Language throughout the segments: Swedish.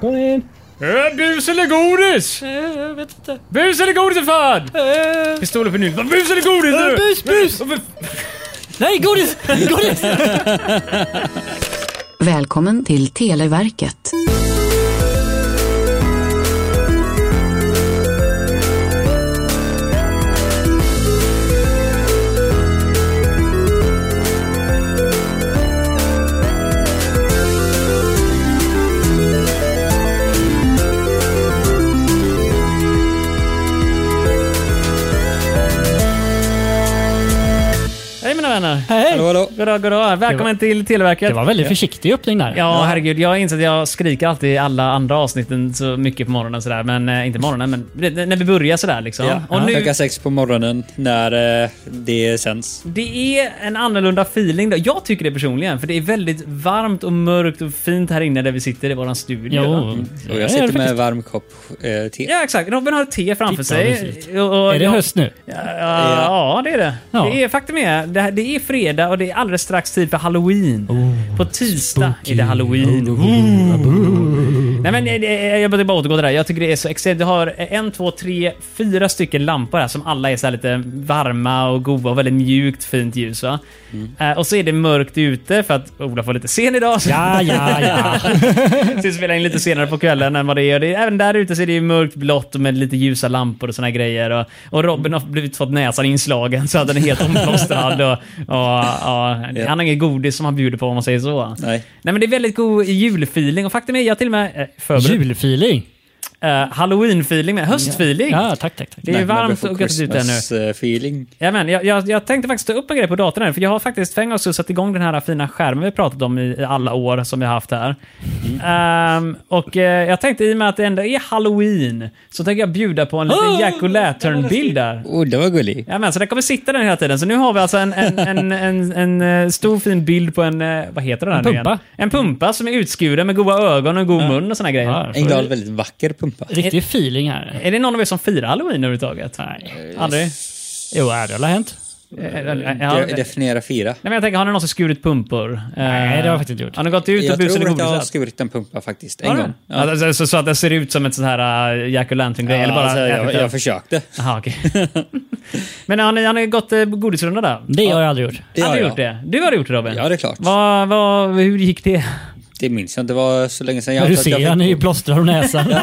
Kom in. Äh, bus eller godis? Jag vet inte. Bus eller godis är fan! Eh, Pistolen på nytt. Vad, Bus eller godis? Eh, du? bus, bus! Vad- Nej, godis! Godis! Välkommen till Televerket. Hej mina vänner. Hej. Hallå, hallå. Goddag, goddag. Välkommen till Televerket. Det var väldigt försiktig öppning där. Ja, herregud. Jag inser att jag skriker alltid i alla andra avsnitten så mycket på morgonen sådär. Men eh, inte morgonen, men det- när vi börjar sådär liksom. Ja. Och nu, Klockan sex på morgonen när eh, det sänds. det är en annorlunda feeling. Då. Jag tycker det personligen, för det är väldigt varmt och mörkt och fint här inne där vi sitter i våran studio. Jo. Och Ja, jag sitter med faktiskt. varm kopp eh, te. Ja, exakt. Robin har ett te framför Titta, sig. precis. Och, och Är det jag- höst nu? Ja, ja, det är det. Ja. det är, faktum är, det, här, det är fredag och det är alldeles strax tid för halloween. Oh. på tisdag är det halloween. oh, Nej men eh, eh, jag behöver bara återgå till det där. Jag tycker det är så extremt. Du har eh, en, två, tre, fyra stycken lampor här som alla är så här lite varma och goda och väldigt mjukt fint ljus va. Mm. Eh, och så är det mörkt ute för att Ola var lite sen idag. Så Ja, ja, ja. vi spelar in lite senare på kvällen än vad det är. Och det, även där ute så är det ju mörkt blått och med lite ljusa lampor och såna här grejer. Och, och Robin har blivit fått näsan inslagen så att den är helt omplåstrad. Och, och, ja, han har inget godis som han bjuder på om man säger så. Nej. Nej men det är väldigt god julfeeling och faktum är jag har till och med eh, förberett Julfeeling. eh, halloween-feeling med höstfeeling. Ja, tack, tack. tack. Det är ju varmt och gött ute nu. feeling. Jajamän, jag, jag, jag tänkte faktiskt ta upp en grej på datorn här, för jag har faktiskt för en gångs skull satt igång den här fina skärmen vi pratat om i, i alla år som vi har haft här. Mm. Ehm, och eh, jag tänkte i och med att det ändå är halloween, så tänker jag bjuda på en liten Oh! Jack och Lantern-bild där. Oh, det var gullig. Jajamän, så den kommer sitta där hela tiden. Så nu har vi alltså en, en, en, en, en eh, stor fin bild på en, eh, vad heter den här En nu Igen? pumpa. En pumpa som är utskuren med goda ögon och god mun och såna grejer. Ja, En så- glad, väldigt vacker pumpa. Riktig feeling här. Är det någon av er som firar halloween överhuvudtaget? Nej. Aldrig? Jo, det har hänt. Eh, eh, eh, De- ja, eh, Definiera fyra. Nej men jag tänker, har ni någonsin skurit pumpor? Nej, Eh, det har jag faktiskt inte gjort. Har ni gått ut och Jag busat tror eller att jag har godisat? skurit en pumpa faktiskt. Har En du? gång. Ja. Alltså, så, så att det ser ut som ett sånt här uh, Jack och Lantern-grej? eller bara alltså, jag, ätit det? jag försökte. Aha, okej. Men har ni, har ni gått uh, godisrunda där? Det har jag aldrig gjort. Det har har du jag. gjort det? Du har gjort det Robin? Ja, det är klart. Vad- vad- hur gick det? Det minns jag inte. Det var så länge sedan. Jag Men du antar att ser, han är jag, ju plåstrad om näsan. fick,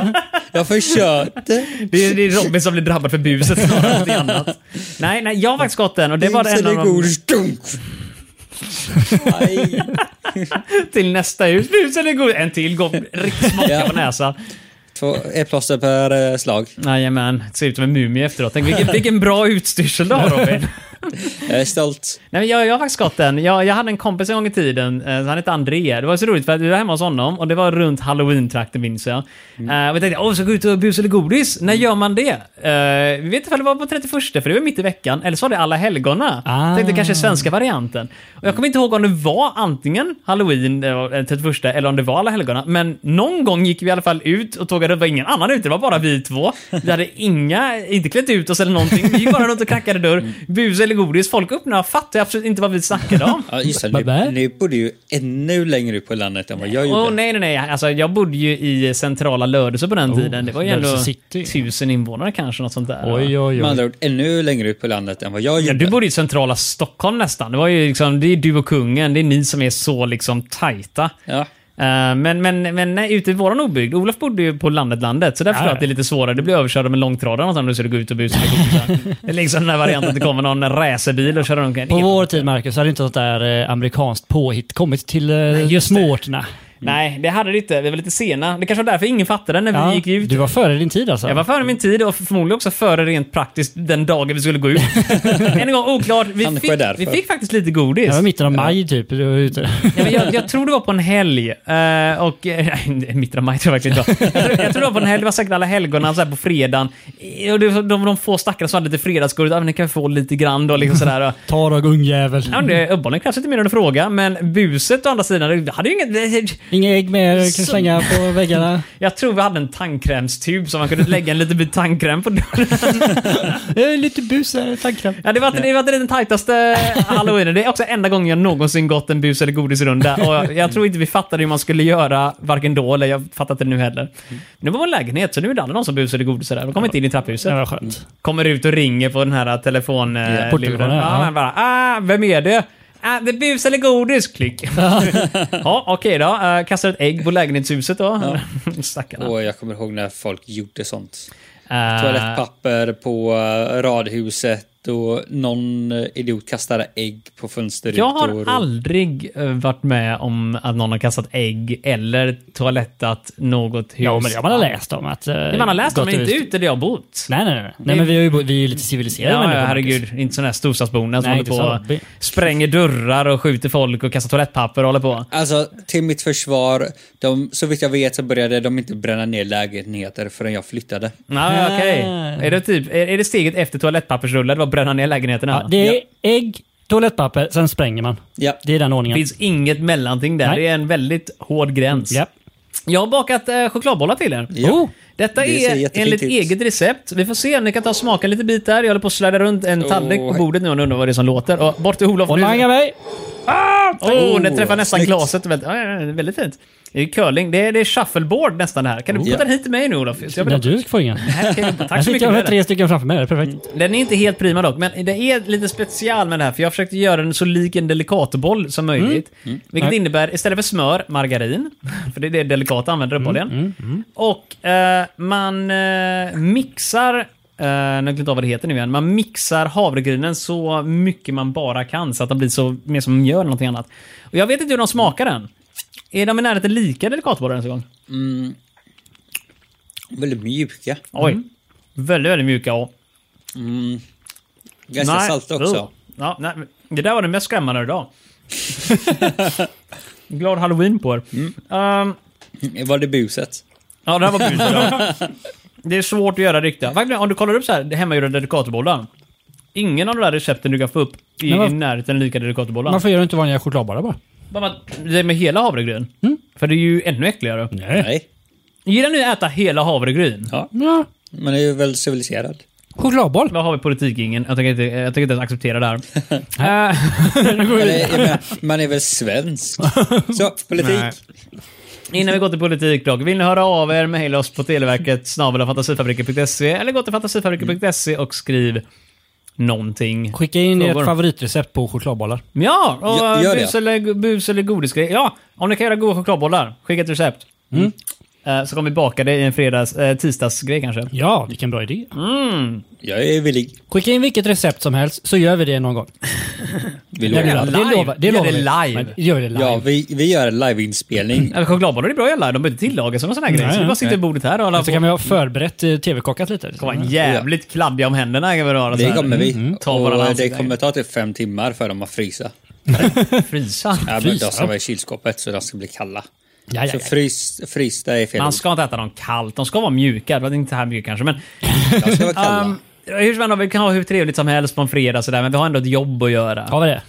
jag försökte. Det är, det är Robin som blir drabbad för buset snarare än något annat. Nej, nej, jag har faktiskt gått den och det var Minns en eller av de... godis, dunk. Aj. Till nästa hus. Bus eller godis? En till går riktigt smaka Ja. på näsan. Två, ett plåster per eh, slag. Jajamän, ser ut som en mumie efteråt. Tänk, vilken, vilken bra utstyrsel du har Robin. Jag är stolt. Nej, men jag, jag har faktiskt gått den. Jag, jag hade en kompis en gång i tiden, eh, han hette André. Det var så roligt för att vi var hemma hos honom och det var runt halloween-trakten minns jag. Eh, och vi tänkte, åh, ska vi gå ut och busa eller godis? När gör man det? Eh, vi vet inte om det var på 31, för det var mitt i veckan, eller så var det alla helgona. Ah. Tänkte kanske svenska varianten. Och jag kommer inte ihåg om det var antingen halloween, eh, den 31, eller om det var alla helgona. Men någon gång gick vi i alla fall ut och tågade, det var ingen annan ute, det var bara vi två. Vi hade inga, inte klätt ut oss eller någonting. Vi gick bara runt och knackade Mm. dörr. Bus eller godis. Folk öppnade och fattade absolut inte vad vi snackade om. Ja, just det. Bye-bye. Ni, ni bodde ju ännu längre ut på landet än vad jag gjorde. Åh nej, nej, nej. Alltså, jag bodde ju i centrala Lödöse på den Oh, tiden. Det var ju ändå Lödöse city. tusen invånare kanske, något sånt där. Oj, oj, Med oj. andra ord, ännu längre ut på landet än vad jag Ja, gjorde. du bodde i centrala Stockholm nästan. Det var ju liksom, det är du och kungen. Det är ni som är så liksom tajta. Ja. Eh, men men, men nej, ute i våran obygd, Olof bodde ju på landet, landet, så där förstår jag att det är lite svårare. Du blir överkörd av en långtradare någonstans när du skulle gå ut och busa med kompisar. Det är liksom den här varianten att det kommer någon racerbil och kör omkring. På vår tid, Marcus, hade inte sånt där eh, amerikanskt påhitt kommit till eh, småorterna. Nej, det hade det inte. Vi var lite sena. Det kanske var därför ingen fattade när vi Ja, gick ut. Du var före din tid alltså? Jag var före min tid och förmodligen också före rent praktiskt den dagen vi skulle gå ut. Än en gång oklart. Vi Kanske fick, därför. vi fick faktiskt lite godis. Jag var i mitten av maj typ. Du var ute. Ja, men jag, jag tror det var på en helg. eh, och, eh, nej, mitten av maj tror jag verkligen inte det var. jag, tror- jag tror det var på en helg, det var säkert alla helgona så här på fredagen. Eh, Och det, var de, de få stackare som hade lite fredagsgodis, ja men ni kan få lite grann då liksom sådär. Och, Ta då, ungjävel. Ja, men det, uppenbarligen krävs lite mer än att fråga, men buset å andra sidan, det hade ju inget... Inga ägg mer du kan Så- slänga på väggarna. Jag tror vi hade en tandkrämstub som man kunde lägga en liten bit tandkräm på dörren. Jag Eh, är lite bus här, tandkräm. Ja, det var, det var den tajtaste halloweenen. Det är också enda gången jag någonsin gått en bus eller godisrunda. Och jag, jag tror inte vi fattade hur man skulle göra, varken då eller jag fattar inte det nu heller. Nu var vår lägenhet, så nu är det aldrig någon som busar eller godisar där. De kommer inte in i trapphuset. Det var skönt. Kommer ut och ringer på den här telefonluren. Ja, portluren, ja. ja, man bara, ah, vem är det? Ah, det är bus eller godis? Klick. ja, okej då. Eh, kastar ett ägg på lägenhetshuset då. Stackarna. Och jag kommer ihåg när folk gjorde sånt. Eh, Toalettpapper på eh, radhuset och någon eh, idiot kastade ägg på fönsterrutor. Jag har och- aldrig eh, varit med om att någon har kastat ägg eller toalettat något hus. Ja, men det har man har läst om. Att, eh, Det man har läst om, gott men och inte visst- ute där jag har bott. Nej, nej, nej. nej men vi, har ju, bo- vi är ju lite Ja, civiliserade ja, människor, Marcus. herregud. Inte sådana här storstadsborna som Nej, håller på och inte så. spränger dörrar och skjuter folk och kastar toalettpapper och håller på. Alltså, till mitt försvar, de, så vitt jag vet så började de inte bränna ner lägenheter förrän jag flyttade. Nej, Ah. okej. Är det typ, är, är det steget efter toalettpappersrullar? Det var att bränna ner lägenheterna? Ja, det är ägg, toalettpapper, sen spränger man. Ja. Det är den ordningen. finns inget mellanting där. Nej. Det är en väldigt hård gräns. Japp. Jag har bakat eh, chokladbollar till er. Ja. Oh. Detta Det ser är jättefint enligt ut. eget recept. Vi får se, ni kan ta och smaka lite bitar. Jag håller på att släda runt en tallrik på hej. bordet nu och undrar vad det är som låter. Och bort till Olof. Och langa mig! Åh, oh, den träffar Åh, nästan snyggt. glaset. Väldigt, ja, ja, ja, väldigt fint. Det är curling. Det är, det är shuffleboard nästan det här. Kan du putta Oh. Ja. den hit till mig nu Olof? Så jag vill- Nej, du får ingen. Nej, okej, Tack Jag så fick mycket. jag de för det. Mm. tre stycken framför mig. Det är Perfekt. Den är inte helt prima dock, men det är lite special med det här för jag försökte göra den så lik en delikatboll som möjligt. Vilket Nej. innebär istället för smör, margarin. För det är det delikata använder uppenbarligen. Och eh, man eh, mixar, eh, nu har jag glömt av vad det heter nu igen, man mixar havregrynen så mycket man bara kan så att de blir så mer som mjöl eller någonting annat. Och jag vet inte hur de smakar än. Är de i närheten lika delikatbollar ens en gång? Väldigt mjuka. Oj. Väldigt, väldigt mjuka och... Mm. Ganska salta också. Oh. Ja, nej, det där var det mest skrämmande idag. Glad halloween på er. Mm. Ehm, Var det buset? ja, det här var kul. idag. det är svårt att göra riktiga. Verkligen, Om du kollar upp så här, det hemmagjorda dedikatbollar. Ingen av de där recepten du kan få upp i, Men vad- i närheten lika dedikatbollar. Varför gör du inte vanliga chokladbollar bara? Bara Det är med hela havregryn. Mm. För det är ju ännu äckligare. Nej. Gillar ni att äta hela havregryn? Ja, Man är ju väl civiliserad. chokladboll. Vad har vi politikingen? Jag tänker inte, jag tänker inte ens acceptera det här. Eh, Eller, jag menar, man är väl svensk? Så, politik. Nej. Innan vi går till politik dock, vill ni höra av er, mejla oss på televerket snabel fantasifabriken.se eller gå till fantasifabriken.se och skriv någonting. Skicka in Frågor. ert favoritrecept på chokladbollar. Ja, och Ja, gör det. bus, eller, bus eller godisgrejer. Ja, om ni kan göra goda chokladbollar, skicka ett recept. Mm. Eh, Så kommer vi baka det i en fredags, eh, tisdagsgrej kanske. Ja, vilken bra idé. Mm. Jag är villig. Skicka in vilket recept som helst så gör vi det någon gång. Det, Vi lovar. lovar- det, Live. lovar, det Gör lovar det vi. live. Mm. Men Gör det live. Ja, vi, vi gör en liveinspelning. Ja, men Chokladbollar är bra att göra live, de behöver inte tillagas eller sådana grejer. Nej, Så vi bara sitter nej. vid bordet här och håller Så kan på. vi ha förberett eh, tv-kockat lite. Det kommer vara jävligt kladdiga om händerna. Kan vi röra så Det här. Mm. kommer vi. Alltså, Ta varandra Och det ansikten. kommer ta typ fem timmar för dem att frysa. Frysa. Ja, men Frysa de ska dem? vara i kylskåpet så de ska bli kalla. Ja, ja, Så ja. frys, frysta är fel Man ord. ska inte äta dem kallt, de ska vara mjuka. Det var inte här mjuka kanske, men... De ska vara kalla. Um, hur som helst, vi kan ha hur trevligt som helst på en fredag sådär, men vi har ändå ett jobb att göra. Har vi det?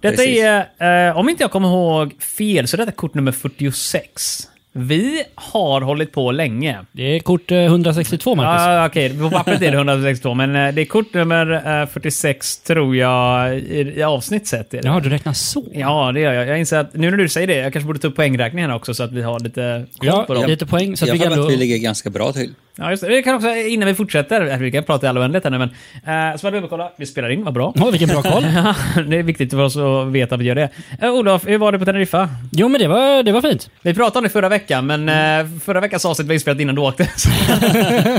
detta precis. är, eh, om inte jag kommer ihåg fel, så detta är kort nummer 46. Vi har hållit på länge. Det är kort eh, 162, Marcus. Ah, Okej, på pappret är det 162, men eh, det är kort nummer eh, 46 tror jag i, i avsnitt sett. Är det. Jaha, du räknar så? Ja, det gör jag. Jag inser att nu när du säger det, jag kanske borde ta upp poängräkningen här också så att vi har lite koll Ja, på dem. lite poäng. Så att jag vi tror kan att ändå... vi ligger ganska bra till. Ja, just det. Vi kan också, innan vi fortsätter, vi kan prata i all oändlighet här nu, men... Eh, så var det dubbelkolla, vi spelar in, vad bra. Ja, vilken bra koll. Ja, det är viktigt för oss att veta att vi gör det. Eh, Olof, hur var det på Teneriffa? Jo, men det var, det var fint. Vi pratade om det förra veckan, men eh, förra veckans avsnitt var inspelat innan du åkte. Så-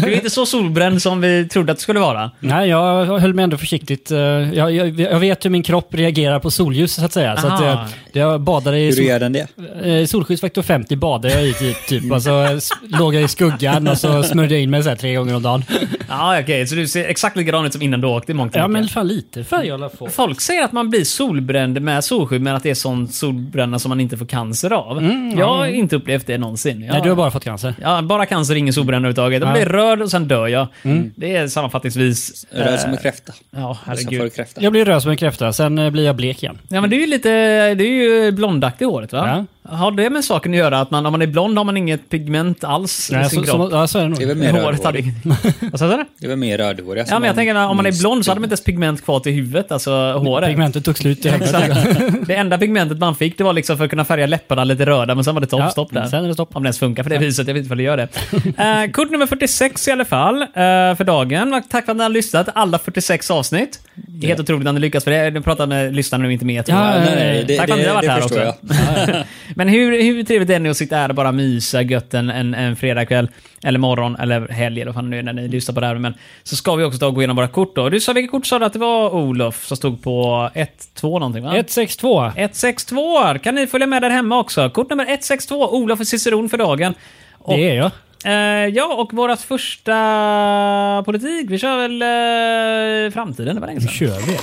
du är inte så solbränd som vi trodde att du skulle vara. Nej, jag höll mig ändå försiktigt. Eh, Jag, jag, jag vet hur min kropp reagerar på solljus så att säga. Så att, Aha. eh, jag badade i Hur sol, gör den det? eh, solskyddsfaktor 50 badade jag i typ. typ. Och så s- låg jag i skuggan och så smörjde jag in mig så här tre gånger om dagen. Ja, okej, så du ser exakt likadan ut som innan du åkte i mångt och Ja, men mycket. fan lite färg jag på. Folk säger att man blir solbränd med solskydd, men att det är sån solbränna som man inte får cancer av. jag har inte upplevt det någonsin. Jag, Mm, Nej, du har bara fått cancer. Ja, bara cancer, ingen solbränna överhuvudtaget. Jag blir röd och sen dör jag. Mm. Det är sammanfattningsvis... Röd eh, som en kräfta. Ja, Som får herregud. kräfta. Jag blir röd som en kräfta, sen eh, blir jag blek igen. Ja men det är ju lite, det är ju ju blondaktig i håret va? Har det med saken att göra att man, om man är blond har man inget pigment alls i Nej, så, sin kropp? så, ja, så är det nog. Det är väl mer Håret hade rödhårig. inget... Vad sa du? Det är väl mer rödhåriga Ja, som Mm. men jag har tänker att om man är minst blond så hade man inte ens pigment kvar till huvudet, alltså håret. Pigmentet tog slut i helvete. Exakt. Det enda pigmentet man fick det var liksom för att kunna färga läpparna lite röda, men sen var det stopp, Ja, stopp där. sen är det stopp. Om det ens funkar på det viset, jag vet inte vad det gör det. Eh, kort nummer 46 i alla fall, eh, för dagen. Och Tack för att ni har lyssnat alla 46 avsnitt. Det är helt otroligt att ni lyckas för det. Nu pratar med lyssnarna nu, inte med. tror Ja, jag. nej, nej, det- Tack för att ni det- har varit det här också. förstår men hur, hur trevligt är det att sitta här och bara mysa gött en, en, en fredagkväll, eller morgon, eller helg, eller vad fan nu är när Mm. ni lyssnar på det här. Men så ska vi också ta och gå igenom våra kort då. Du sa, vilket kort sa du att det var Olof som stod på 1-2 någonting va? 162. 162 kan ni följa med där hemma också. Kort nummer 162, Olof och Ciceron för dagen. Och, Det är jag. eh, ja, och vårat första politik, vi kör väl eh, framtiden, det var länge Nu sedan. kör vi.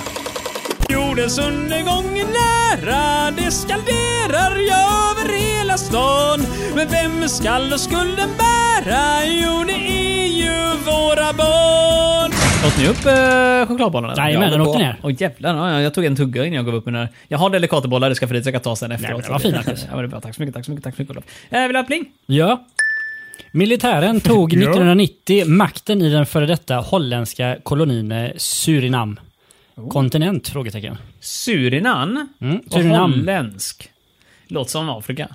Jordens undergång är nära, det skanderar jag över hela stan. Men vem skall då skulden bära? Jo, det är ju våra barn. Åt ni upp eh, chokladbollarna? Jajamän, den men åkte på- ner. Åh jävlar, ja, ja, jag tog en tugga innan jag gav upp mina... Jag har delikatobollar, det ska för dit, så jag kan ta sen efteråt. men vad fint, Marcus. Ja, men det är bra. Tack så mycket, tack så mycket, tack så mycket Olof. Eh, vill du ha pling? Ja. Militären tog 1990 makten i den före detta holländska kolonin eh, Surinam. Oh. Kontinent? Frågetecken. Surinan Mm, och Surinam. holländsk. Låter som Afrika.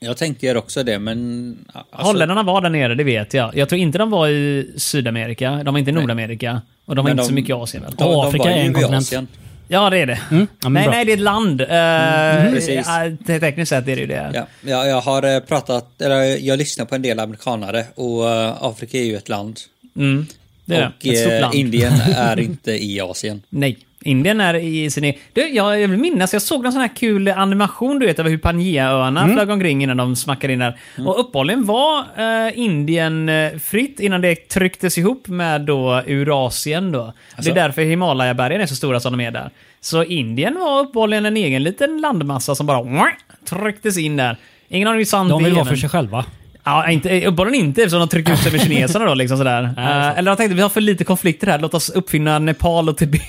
Jag tänker också det, men... alltså, Holländarna var där nere, det vet jag. Jag tror inte de var i Sydamerika, de var inte i Nordamerika. Och de var Men inte så de- mycket i Asien väl? de- de var Afrika är ju en i kontinent. Asien. Ja, det är det. Mm. ja, men nej, bra. nej, det är ett land. Eh, Precis. eh, te- tekniskt sett är det ju det. Ja, jag, jag har eh, pratat, eller jag lyssnar på en del amerikanare och eh, Afrika är ju ett land. Mm, det är det. och ett stort eh, land. Indien är inte i Asien. Nej. Indien är i sin... e- Du, jag, jag vill minnas, jag såg någon sån här kul animation du vet över hur Pangaeaöarna Mm. flög omkring innan de smackade in där. Och uppehållligen var eh, Indien eh, fritt innan det trycktes ihop med då Eurasien då. Alltså- Det är därför Himalayabergen är så stora som de är där. Så Indien var uppehållligen en egen liten landmassa som bara mwah, trycktes in där. Ingen aning hur sant De det vill är, vara men- för sig själva. Ja, inte, eh, uppenbarligen inte eftersom de trycker ut sig med kineserna då. Liksom sådär. Eh, eller jag tänkte vi har för lite konflikter här, låt oss uppfinna Nepal och Tibet.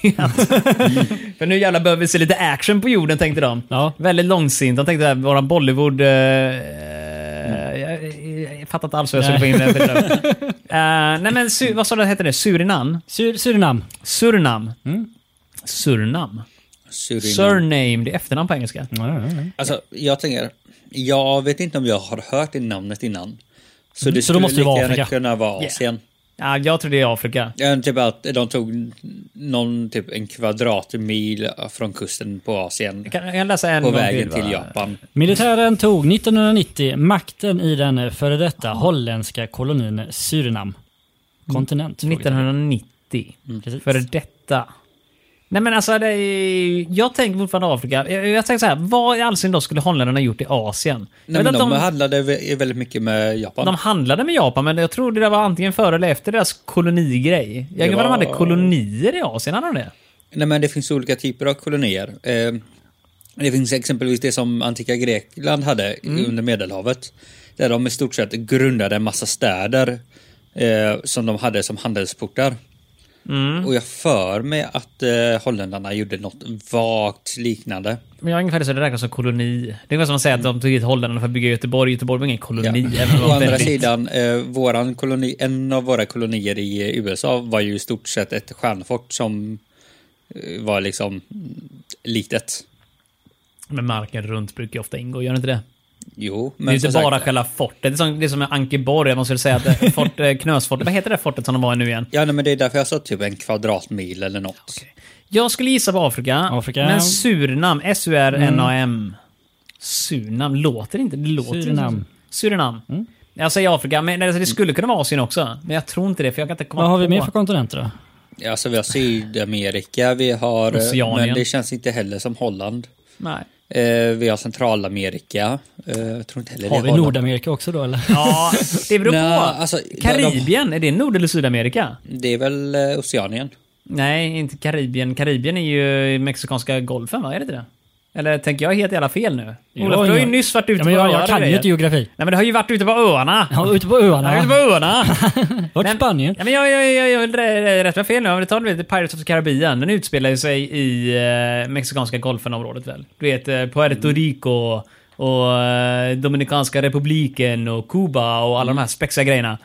för nu jävlar behöver vi se lite action på jorden tänkte de. Ja. Väldigt långsint. De tänkte att våra Bollywood... eh, eh, jag, jag, jag fattar inte alls hur jag skulle få in det. Eh, nej men su, vad sa du hette det? Surinam? Sur Surinam. Surnam? Surnam? Mm. Surinam. Surname, det är efternamn på engelska. Ja, ja, ja. Alltså, jag tänker, jag vet inte om jag har hört det namnet innan. Så Mm, det så skulle då måste det lika vara gärna Afrika. kunna vara Yeah. Asien. Ja, jag tror det är Afrika. Yeah. Typ att de tog någon typ en kvadratmil från kusten på Asien Jag kan, jag kan läsa en på gång vägen va? till Japan. Militären tog 1990 makten i den före detta holländska kolonin Surinam. Kontinent? frågetecken. 1990. Precis. För detta. Nej men alltså, det är, jag tänker fortfarande Afrika. Jag, jag tänker så här, vad i all sin dag skulle holländarna gjort i Asien? Jag Nej, vet men att de, handlade vä- väldigt mycket med Japan. de handlade med Japan, men jag tror det där var antingen före eller efter deras kolonigrej. Jag vet att de hade var- kolonier i Asien, hade de det? Nej, men det finns olika typer av kolonier. Eh, det finns exempelvis det som antika Grekland hade Mm. under Medelhavet. Där de i stort sett grundade en massa städer eh, som de hade som handelsportar. Mm. Och jag för mig att eh, holländarna gjorde något vagt liknande. Men jag har ungefär det så det räknas som koloni. Det är ungefär som att säga att de tog hit holländarna för att bygga Göteborg. Göteborg var ingen koloni. Ja. även om det Å var andra väldigt- sidan, eh, våran koloni, en av våra kolonier i eh, USA var ju i stort sett ett stjärnfort som eh, var liksom mm, litet. Men marken runt brukar ju ofta ingå, gör det inte det? Jo, men det är ju som inte sagt- bara själva fortet. Det är som, det är som med Ankeborg, man skulle säga att det- fort, eh, Knösfortet, vad heter det fortet som de var i nu igen? Ja, nej, men det är därför jag sa typ en kvadratmil eller något. Jag skulle gissa på Afrika, Afrika. Mm. men Surinam, S-U-R-N-A-M. Surinam, låter inte... Det låter Surinam. Mm. inte så. Surinam. Jag säger Afrika, men alltså, det skulle kunna vara Asien också. Men jag tror inte det, för jag kan inte komma Vad har på... vi mer för kontinenter då? Alltså vi har Sydamerika, vi har... eh, Oceanien. Men det känns inte heller som Holland. Nej. Eh, vi har Centralamerika. Eh, jag tror inte heller Har det vi är Holland. Nordamerika också då eller? Ja, det beror på. Nej, alltså, Karibien, är det Nord eller Sydamerika? Det är väl eh, Oceanien? Nej, inte Karibien. Karibien är ju i Mexikanska golfen, va? Är det inte det? Eller tänker jag helt jävla fel nu? Jo, Olof, du har ju jag- nyss varit ute Ja, på men jag, öar och jag kan ju grejer. inte geografi. Nej men du har ju varit ute på öarna. Ja, ute på öarna. Jag är ute på öarna. Vart Nej, Spanien? Ja, men jag, jag, jag, jag vill rä- rätta mig fel nu. Om vi tar lite Pirates of the Caribbean. Den utspelar ju sig i eh, mexikanska golfenområdet väl? Du vet eh, Puerto Rico och eh, Dominikanska republiken och Kuba och alla de här spexiga grejerna.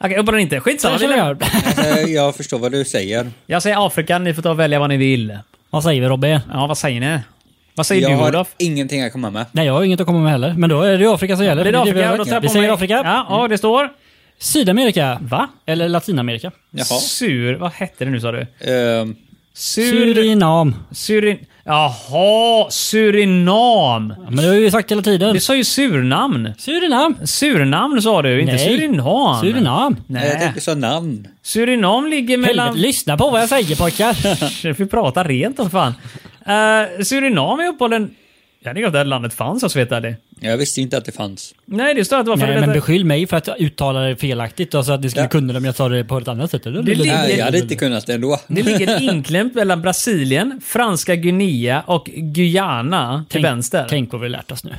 Okej, jag den inte. Skitsamma. Så vi känner lämnar- jag. Eh, jag förstår vad du säger. Jag säger Afrika, ni får ta och välja vad ni vill. Vad säger vi Robin? Ja, vad säger ni? Vad säger Jag du har Olof? ingenting att komma med. Nej, jag har inget att komma med heller. Men då är det ju Afrika som gäller. Det för är vi Afrika. har Då varit. tar jag vi på säger mig- Afrika. Ja, ja, det står. Sydamerika. Va? Eller Latinamerika. Jaha. Sur... Vad hette det nu sa du? Eh, Sur... Surinam. Surin... Jaha, Surinam! Ja, Men det har vi ju sagt hela tiden. Du sa ju surnamn. Surinam. Surnamn sa du, inte Nej. Surinam. Surinam. jag Nej. tänker så namn. Surinam ligger Helvete, mellan... lyssna på vad jag säger pojkar. Vi får prata rent om fan. Eh, Surinam är uppehållen... Jag hade inte att det här landet fanns, jag vet det. Jag visste ju inte att det fanns. Nej, det står att det var för Nej, detta- men beskyll mig för att jag uttalade det felaktigt och så att ni skulle Ja. kunna det om jag sa det på ett annat sätt. Det ligger- Nej, jag hade inte kunnat det ändå. Det ligger inklämt mellan Brasilien, Franska Guinea och Guyana till Tänk- vänster. Tänk vad vi lärt oss nu.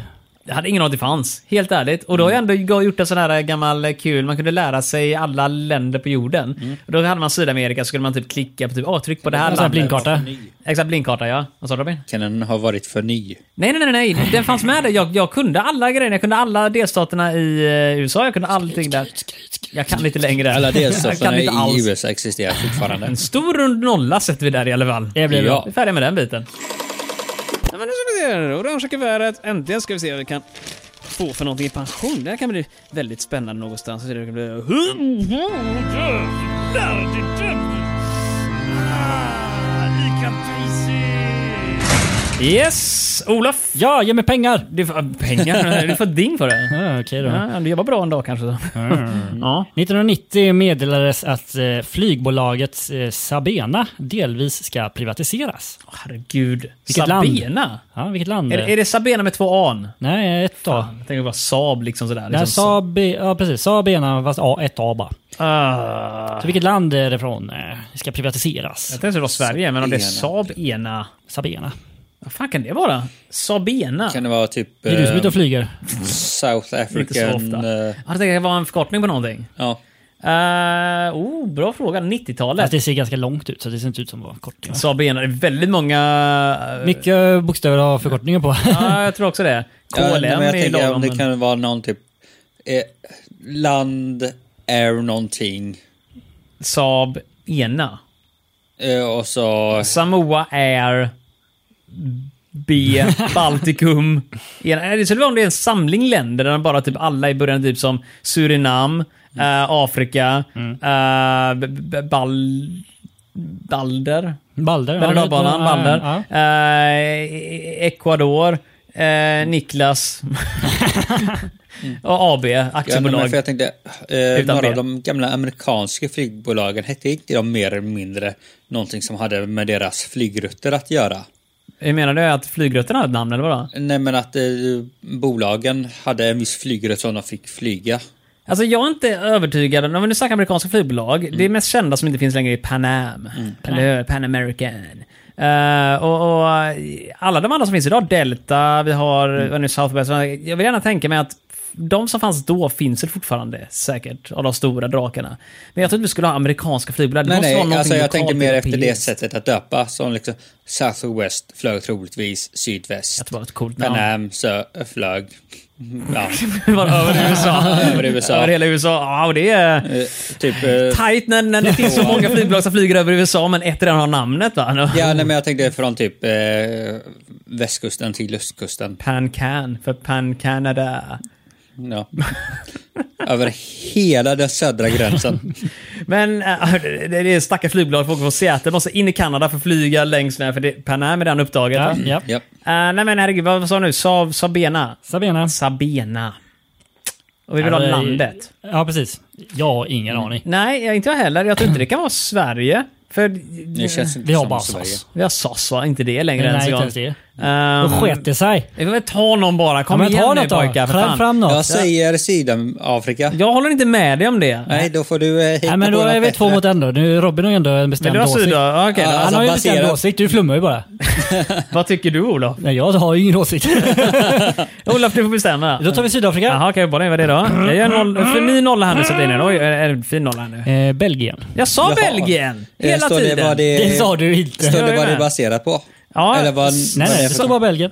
Jag hade ingen aning att det fanns, helt ärligt. Och då har Mm. jag ändå gjort en sån här gammal eh, kul, man kunde lära sig alla länder på jorden. Mm. Och då hade man Sydamerika, så skulle man typ klicka på typ, åh tryck på det här En sån här landet. blindkarta. Exakt, blindkarta ja. Vad sa du Robin? Kan den ha varit för ny? Nej, nej, nej, nej. Den fanns med där. Jag, jag kunde alla grejer. Jag kunde alla delstaterna i eh, USA. Jag kunde allting där. Jag kan lite längre där. Alla Jag kan delstaterna i inte alls. USA existerar fortfarande. En stor rund nolla sätter vi där i alla fall. Det blir Ja. bra. Vi är färdiga med den biten. Ja, men nu ska vi se. här. Orangea kuvertet. Äntligen ska vi se vad vi kan få för någonting i pension. Det här kan bli väldigt spännande någonstans. Det kan bli... Yes! Olof! Ja, ge mig pengar! Du får pengar. Du får ding för det. Mm. Ja, Okej då. Ja, du jobbar bra en dag kanske. Så. Ja. 1990 meddelades att eh, flygbolaget eh, Sabena delvis ska privatiseras. Åh, Herregud. Vilket land? Sabena? Ja, vilket land? Är, det- är det Sabena med två A'n? Nej, ett A. Jag tänker bara Saab liksom sådär. Nej, Liksom Saab, ja precis. Sabena, fast A, ett A bara. Ah. Så vilket land är det från? eh, ska privatiseras? Jag tänkte det var Sverige, men om det är Sabena. Saab Ena. Sabena. Vad fan kan det vara? Sabena? Kan det vara typ Det är du som är ute och eh, flyger. South Inte så African... ofta. eh, Jag tänkte det var en förkortning på någonting. Ja. Eh, oh, bra fråga. 90-talet. Fast det ser ganska långt ut, så det ser inte ut som att vara kort. Saab Ena, det är väldigt många... eh, Mycket bokstäver har förkortningar på. Ja, jag tror också det. KLM Ja, nej, men jag är tänker lagom. om det men- kan vara någon typ... Eh, land, air någonting. Saab Ena. Eh, och så... Samoa Air. B. Baltikum. Ena. Eh, Det skulle vara om det är en samling länder där bara typ alla i början typ som Surinam, Mm. eh, Afrika, eh, B- B- Bal... Balder? Balder. ja, Bergochdalbanan, ja, Balder. ja. Eh, Ecuador. Eh, Niklas. och AB, Ja, nej, men aktiebolag. för jag tänkte, eh, Utan några av B. de gamla amerikanska flygbolagen hette inte de mer eller mindre någonting som hade med deras flygrutter att göra? Hur menar du? Att flygrutten har ett namn eller vadå? Nej men att eh, bolagen hade en viss flygrutt som de fick flyga. Alltså jag är inte övertygad. Om vi nu snackar amerikanska flygbolag. Det Mm. mest kända som inte finns längre är Pan Am. Eller hur? Pan American. Eh, och, och alla de andra som finns idag, Delta, vi har Mm. vad nu Southwest. Jag vill gärna tänka mig att de som fanns då finns det fortfarande säkert, av de stora drakarna. Men jag tror inte vi skulle ha amerikanska flygbolag. Det Nej måste vara nej, någonting alltså jag lokalt tänker mer efter det europeiskt. sättet att döpa som liksom Southwest flög troligtvis sydväst. Jag tror det var ett coolt Pan namn. Am sö, flög... Ja, Det var över USA. över USA. Över hela USA. Ja, och det är... eh, typ... eh, Tight när, när det finns så många flygbolag som flyger över USA men ett redan har namnet va? Ja, nej, men jag tänkte från typ eh, västkusten till östkusten. Pan Can för Pan Canada. Ja. Över hela den södra gränsen. Men äh, det det är stackars flygbolag, folk från Seattle måste in i Kanada för att flyga längs med, för det, Pan Am är redan upptaget. Ja, va? ja. ja. Äh, nej men herregud, vad vad sa du nu? Saab, Sabena? Sabena. Sabena. Och vi vill ha Ja, det är- landet. Ja, precis. Jag har ingen aning. Nej, jag- inte jag heller. Jag tror inte det kan vara Sverige. För Det känns inte Vi har som bara Sverige. SAS. vi har SAS va? Inte det längre Nej, ens en inte gång. ens det. Då Um, sket det sig. jag vill väl ta någon bara. Ja, Kom men ta igen nu något då. pojkar. för Fram, fan. fram något. Jag säger Sydafrika. Jag håller inte med dig om det. Nej, då får du eh, hitta Nej, men då på något är vi två bättre. mot en då. Nu, Robin har ju ändå en Men bestämd du har åsikt. Sydafrika? Ja, Okej, Ja, då. Han har ju en Alltså, bestämd baserat- åsikt. Du flummar ju bara. Vad tycker du Olof? Nej, jag har ju ingen åsikt. Olof, du får bestämma. Då tar vi Sydafrika. Jaha, okej, bara vad är det då? Jag gör en noll, för ny nolla här nu sätter jag in en. Oj, är det en fin nolla här nu? Eh, Belgien. Jag sa Jaha. Belgien! Eh, Hela står tiden! Det vad det, Det sa du inte. Står det vad det Jag är med. baserat på? Ja, Eller vad, s- Nej, vad nej, Mm. är det för- står bara Belgien.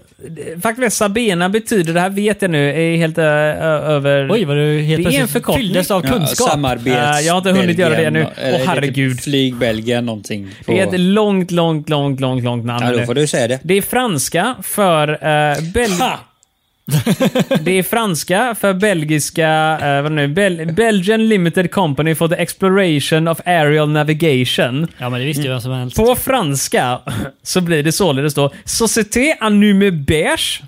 Faktiskt Sabena betyder, det här vet jag nu, är helt ö, ö, över... Oj, vad du helt Det är en plötsligt förkortning. fylldes av kunskap. Ja, samarbets Eh, jag har inte hunnit göra det Belgien, ännu. och- eller Åh, är det typ herregud. Flyg Belgien någonting. På, det är ett långt, långt, långt, långt, långt namn ja, då nu. får du säga det. Det är franska för eh, Bel- Det är franska för belgiska... eh, vad nu? Bel- Belgian Limited Company for the Exploration of Aerial Navigation. Ja, men det visste ju vem som helst. På franska så blir det således då Société Annume Beige.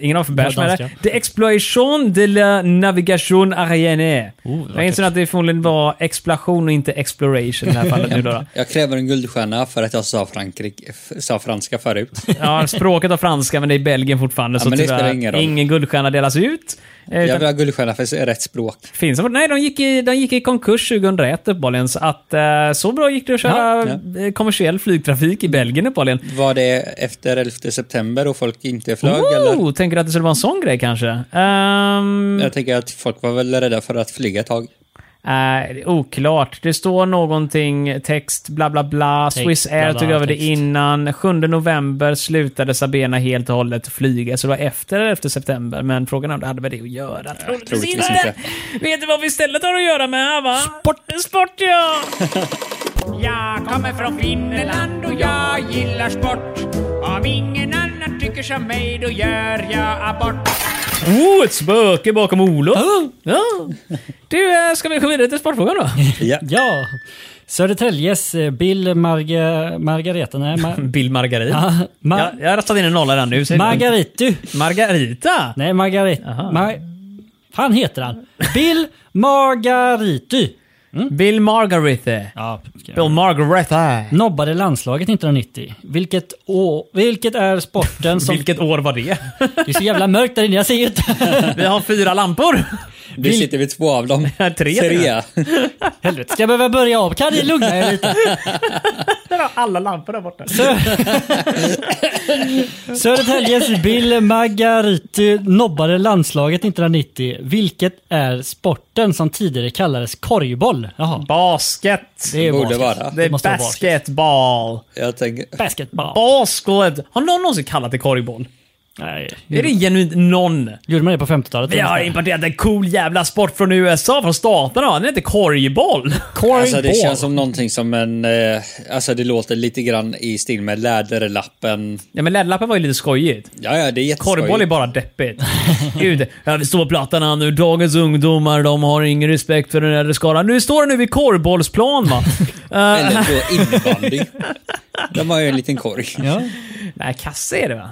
Ingen har för beige På med danska. det. De Exploitation de la Navigation Aérienne. Oh, vackert. jag insåg att det förmodligen var exploration och inte exploration i det här fallet nu då. då. Jag kräver en guldstjärna för att jag sa, Frankrike, f- sa franska förut. Ja, språket var franska men det är Belgien fortfarande så men det spelar tyvärr ingen ingen, roll. guldstjärna delas ut. Eh, Jag Utan vill ha guldstjärna för rätt språk. finns, nej, de gick, i, de gick i konkurs 2001 uppehållligen så att eh, så bra gick det att köra eh, kommersiell flygtrafik i Belgien uppehållligen. Var det efter 11 september och folk inte flög? Eller? Oh, tänker du att det skulle vara en sån grej kanske? Ehm, Jag tänker att folk var väl rädda för att flyga ett tag. Nej, oklart. Det står någonting, text, bla bla bla. Text, Swiss bla, Air bla, tog över det text. innan. 7 november slutade Sabena helt och hållet flyga, så det var efter eller efter september. Men frågan är om det hade med det att göra. Troligtvis troligtvis inte. Vet du vad vi istället har att göra med, va? Sport! Sport, ja! Jag kommer från Finland och jag gillar sport. Om ingen annan tycker som mig då gör jag abort. Oh, ett spöke bakom Olof! Ja. Du, eh, ska vi gå vidare till sportfrågan då? Ja. Ja. Södertäljes eh, Bill Marga, Margareta. Nej, Mar- Bill Margarin. Ja, ma- jag, jag har tagit in en nolla där nu. så- Margaritu. Margarita! Nej, Margaret. Mar- han heter han. Bill Margaritu. Bill Margarita. Ja, Bill Margarita. Nobbade landslaget 1990. Vilket, å- vilket är sporten som... Vilket år var det? Det är så jävla mörkt där inne, jag ser ju inte. Vi har fyra lampor. Du sitter vid två av dem. Tre, tror Tre. Helvete, ska jag behöva börja om? Kan ni lugna er lite? Alla lampor där borta. Södertäljes Bill Margaritu nobbade landslaget 1990. Vilket är sporten som tidigare kallades korgboll? Jaha. Basket. Det är Borde basket. vara. Det är måste vara basket. basketball. Jag tänker... Basketball. Basket. Har någon någonsin kallat det korgboll? Nej. Är det genuint någon? Gjorde man det på 50-talet? Vi har importerat en cool jävla sport från USA, från staterna. Den heter korgboll. Alltså det Korgboll. känns som någonting som en... Eh, alltså det låter lite grann i stil med läderlappen. Ja, men läderlappen var ju lite skojigt. Ja, ja, det är Korgboll är jätteskoj. bara deppigt. Gud, jag vill stå på plattan här nu. Dagens ungdomar, de har ingen respekt för den äldre skaran. Nu står det nu vid korgbollsplan va? Eh, Eller då innebandy. De har ju en liten korg. Ja. Nej, kasse är det va?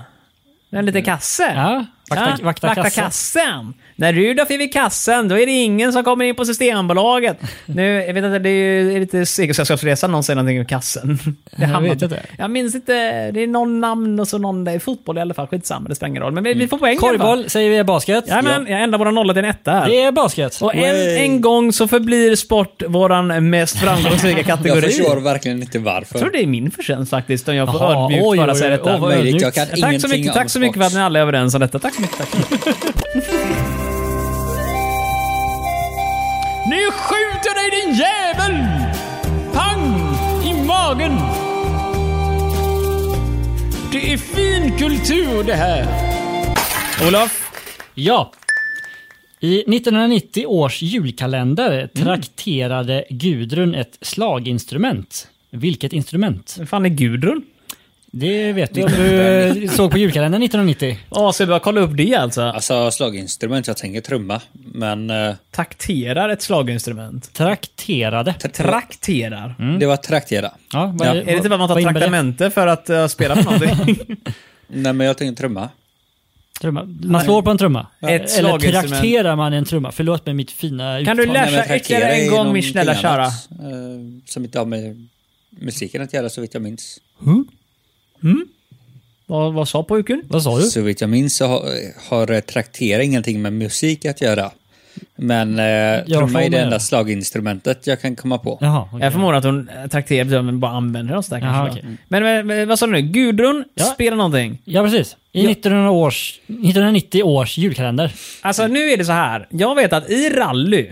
En liten kasse? Mm. Ja, vakta- vakta kasse. kassen. När Rudolf är vid kassen, då är det ingen som kommer in på Systembolaget. Nu, jag vet inte, det är ju är lite Segelsällskapsresan någon säger någonting om kassen. Det Jag hamnar vet inte. Jag minns inte, det är någon namn och så någon där. Fotboll i alla fall, skitsamma, det spelar ingen roll. Men Mm. vi, vi får poäng i alla fall. Korgboll säger vi är basket. Ja, men jag ändrar våra nolla till en etta här. Det är basket. Och en, Way. en gång så förblir sport våran mest framgångsrika kategori. Jag förstår verkligen inte varför. Jag tror det är min förtjänst faktiskt, om jag får Jaha, oj, ödmjukt oj, bara säga oj, detta. oj, vad Möjligt, jag ödmjukt. Tack kan så ingenting mycket, om tack så mycket för att ni sport. alla är överens om detta. Tack så mycket. Tack. Nu skjuter dig din jävel! Pang! I magen! Det är fin kultur det här. Olof, Ja. I 1990 års julkalender trakterade Gudrun ett slaginstrument. Vilket instrument? vem fan är Gudrun? Det vet du om du såg på julkalendern 1990. Ja, så vi bara kolla upp det alltså. Alltså slaginstrument, jag tänker trumma. Men eh, Takterar ett slaginstrument. Trakterade. Trakterar. Mm. det var traktera. Ja, vad, Ja. Är det typ att man tar Mm. vad innebär det? traktamente för att eh, spela på någonting? Nej men jag tänker trumma. Trumma. Man slår på en trumma. Ett Eller slaginstrument. trakterar man en trumma. Förlåt mig mitt fina Kan uttal. du Du... lä- Nej, men Läsa ytterligare traktera en är gång, någonting Michel annat, Achara. eh, Som inte har med musiken att göra så vitt jag minns. Vad, vad sa pojken? Vad sa du? Så vitt jag minns så har, har eh, traktera ingenting med musik att göra. Men eh, trumma får är det med. enda slaginstrumentet jag kan komma på. Jaha, okej. Jag förmodar att hon eh, trakterar betyder att hon bara använder oss där Jaha, kanske. då. okej. men, men, men vad sa du nu? Gudrun Ja. spelar någonting. Ja, precis. I 1900 års, 1990 års julkalender. Alltså nu är det så här. Jag vet att i rally,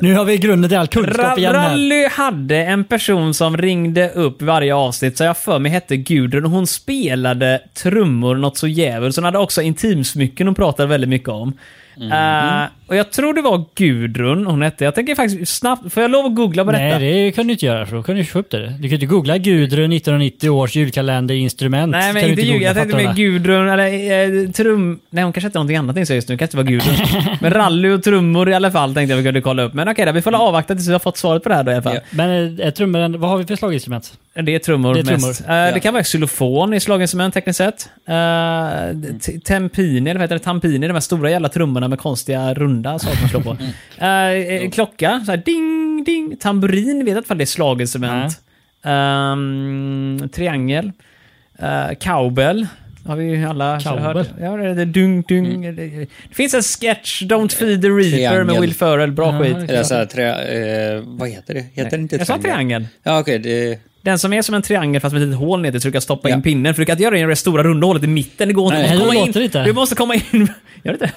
Nu har vi grunden till all ra kunskap igen här. rally hade en person som ringde upp varje avsnitt, så jag för mig hette Gudrun. och Hon spelade trummor något så djävulskt. Hon hade också intimsmycken hon pratade väldigt mycket om. Mm. Eh, och jag tror det var Gudrun hon hette. Jag tänker faktiskt snabbt, får jag lov att googla på detta? Nej, det kunde du inte göra för då kunde du inte få upp det. Du kan ju inte googla Gudrun 1990 års julkalender instrument. Nej, men Kan du inte ljuga. Jag googla, tänkte mer fattar du Gudrun, eller eh, trum... Nej, hon kanske hette någonting annat just nu. kanske inte var Gudrun. men rally och trummor i alla fall tänkte jag vi kunde kolla upp. Men okej, då, vi får väl avvakta tills vi har fått svaret på det här då i alla fall. det? Men eh, är trummor, vad har vi för slaginstrument? Det är trummor Det är trummor. mest. Eh, Det kan vara xylofon i slaginstrument tekniskt sett. Uh, tempini, eller vad heter det? Tampini, de här stora jävla trummorna med konstiga runda saker man slår på. Eh, eh, klocka, så här ding, ding. Tamburin, vet jag inte om det är slaginstrument. Ehm, triangel. Uh, cowbell. Har vi ju alla Cowbell? hört. Ja, det är det dung, dung. Det, det finns en sketch, Don't feed the reaper med Triangel. Will Ferrell. Bra skit. Eller så här, trä, eh, vad heter det? Heter det inte Jag sa triangel. Ja, okej. det- Den som är som en triangel fast med ett litet hål ner till så du kan stoppa Ja. in pinnen. För du kan inte göra det genom det stora runda hålet i mitten. Det går inte. Nej, du, det måste komma låter in. inte. du måste komma in. Gör det inte?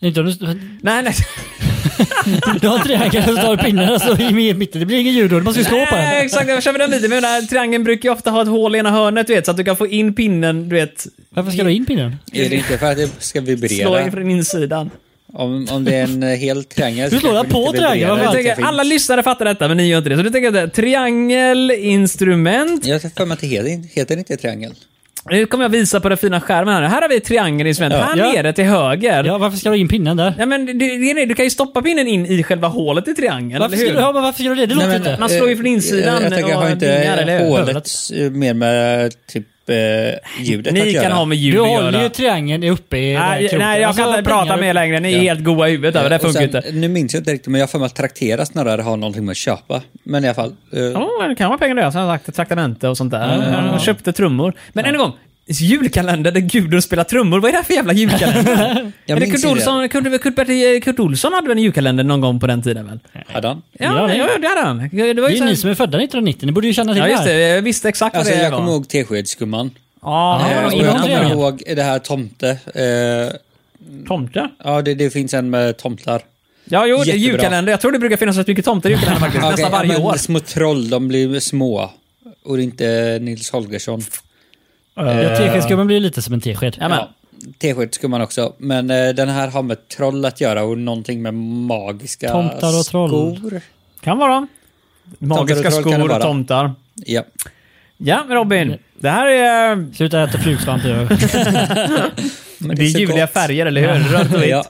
Inte om du, Nej, nej. du har en triangel som står i pinnen alltså, i mitten. Det blir ingen ljud då. Du måste ju slå på nej den. exakt, jag kör med den vidare. Men den här triangeln brukar ju ofta ha ett hål i ena hörnet du vet, så att du kan få in pinnen, du vet, Varför ska du ha in pinnen? Är det inte för att det ska slå in vibrera? från insidan. Om, om det är en eh, hel triangel Du så slår kanske på det inte triangeln, vibrerar vad Jag fan? så tänker, fint. alla lyssnare fattar detta, men ni gör inte det. Så du tänker jag att triangel, instrument. Jag har för mig att det heter, heter inte triangel. Nu kommer jag visa på den fina skärmen här. Här har vi triangelinstrument. Här Ja. nere till höger. Ja, varför ska du ha in pinnen där? Nej, men det, det, är det, du kan ju stoppa pinnen in i själva hålet i triangeln, Varför eller ska hur? du, ja, men varför gör du det? Det låter Nej, men, inte. man slår ju eh, från insidan Jag, jag tänker, har och vingar, eller inte hur? hålet eh, mer med eh, typ eh, ljudet att Ni göra? kan ha med Du ljud att håller ju göra. triangeln uppe i den här Nej, kroken. nej, jag Alltså, kan inte pengar prata upp. mer längre. Ni är helt goa i huvudet. över det Och funkar sen, inte. Nu minns jag inte riktigt, men jag har för mig att traktera snarare har någonting med att köpa. Men i alla fall. eh, Ja, det kan vara pengar där. Som sagt, traktamente och sånt där. Jag köpte trummor. Men än en gång. Julkalender där Gudrun spelar trummor. Vad är det här för jävla julkalender? Jag är det minns Kurt ju det. Olsson, Kurt, Kurt, Kurt, Kurt Olsson hade väl en julkalender någon gång på den tiden väl? Adam? Ja, det- ja, det hade han. Det var Det ju är så ju ni här, som är födda 1990. Ni borde ju känna till ja, det just här. det. Jag visste exakt Alltså vad det jag var. kommer ihåg Teskedsgumman. Ja, det Eh, var och nog jag innan kommer triangeln. triangeln. ihåg det här tomte. eh, Tomte? Ja, det, det finns en med tomtar. Ja, jo, det är Jättebra. julkalender. Jag tror det brukar finnas rätt mycket tomter i julkalendern faktiskt. Okej, Nästan ja, varje men år. Små troll, de blir små. Och det är inte eh, Nils Holgersson. Ja, Teskedsgumman blir ju lite som en tesked. Ja, men. Ja, Teskedsgumman också. Men eh, den här har med troll att göra och någonting med magiska Tomtar och troll. skor. Kan vara. Magiska troll kan det skor och vara. tomtar. Ja. Ja, Robin. Det här är... eh, Sluta äta flugsvamp du. Men Det är så ljuvliga gott. färger, eller hur? Rött och vitt. Ja.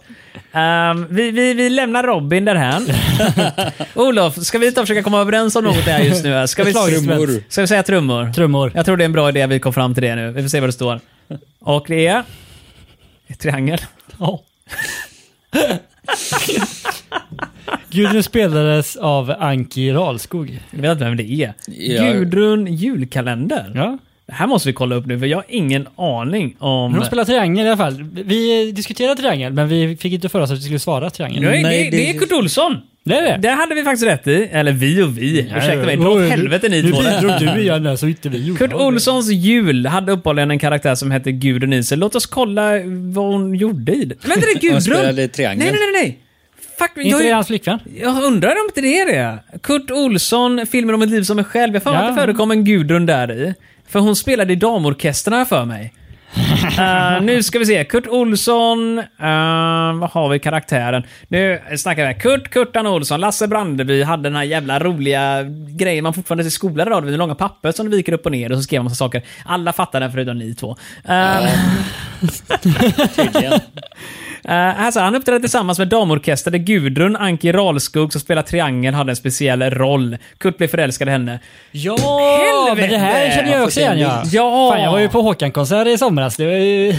Ehm, vi, vi, vi lämnar Robin därhän. Olof, ska vi inte försöka komma överens om något här just nu? Ska vi, Trummor. ska vi säga trummor? Trummor. Jag tror det är en bra idé att vi kom fram till det nu. Vi får se vad det står. Och det är... Ett triangel. Ja. Gudrun spelades av Anki Ralskog. Jag vet inte vem det är. Ja. Gudrun julkalender. Ja. Det här måste vi kolla upp nu, för jag har ingen aning om... Hon spelar triangel i alla fall. Vi diskuterade triangel, men vi fick inte för oss att vi skulle svara triangel. Nej, Nej, det, det- det är Kurt Olsson! Det är det. Det hade vi faktiskt rätt i. Eller vi och vi. Ursäkta mig, dra åt helvete ni Nu två. där. bidrog du igen där, så inte vi gjorde. Kurt Olssons jul hade uppehålligen en karaktär som hette Gudrun i sig. Låt oss kolla vad hon gjorde i det. Men det är Gudrun! spelade triangel. Nej, nej, nej, nej. Fuck, Inte jag, det jag, hans flickvän? undrar om inte det är det. Kurt Olsson, filmer om ett liv som en själv. Jag för mig Ja. att det förekom en Gudrun där i. För hon spelade i damorkestern har jag för mig. Eh, nu ska vi se. Kurt Olsson. eh, vad har vi i karaktären? Nu snackar vi. Kurt Kurtan Olsson. Lasse Brandeby hade den här jävla roliga grejen man fortfarande ser i skolan idag. Det är långa papper som du viker upp och ner och så skriver man massa saker. Alla fattar den förutom ni två. Eh, Eh, alltså, han uppträdde tillsammans med damorkester där Gudrun, Anki Ralskog som spelar triangel, hade en speciell roll. Kurt blev förälskad i henne. Ja, Helvete! men det här känner jag också igen. Ja. Ja. Fan, jag var ju på Håkan-konsert i somras. Det var ju...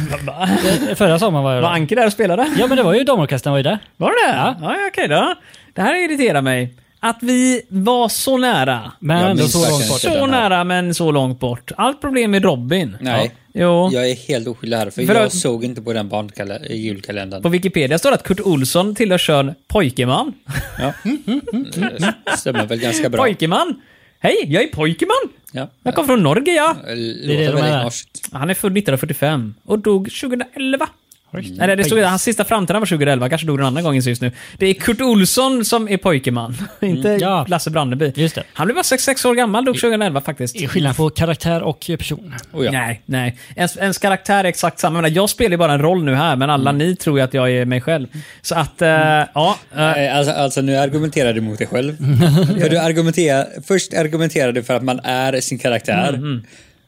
Förra sommaren var jag Var där. Anki där och spelade? Ja, men det var ju damorkestern var ju där. Var det det? Ja, ja okej då. Det här irriterar mig. Att vi var så nära. Men Jag ändå minns så långt verkligen bort. inte. Så nära men så långt bort. Allt problem är Robin. Nej. Jo. Jag är helt oskyldig här, för, För jag att- såg inte på den barnkala- eh, julkalendern. På Wikipedia står det att Kurt Olsson tillhör kön pojkeman. Ja. Det stämmer väl ganska bra. Pojkeman? Hej, jag är pojkeman! Ja. Jag kommer från Norge, ja. Det det de låter är där. väldigt norskt. Han är född 1945 och dog 2011. Nej, nej, det stod att hans sista framträdande var 2011. Kanske dog en annan gång just nu. Det är Kurt Olsson som är pojkeman, inte Ja. Lasse Brandeby. Just det. Han blev bara 66 år gammal, dog 2011 faktiskt. Det är skillnad på karaktär och person. Oh, ja. Nej, nej. Ens, ens karaktär är exakt samma. Jag, menar, jag spelar ju bara en roll nu här, men alla ni tror ju att jag är mig själv. Så att, eh, ja. eh, Eh, Alltså, alltså nu argumenterar du mot dig själv. för du argumenterar, först argumenterar du för att man är sin karaktär. Mm,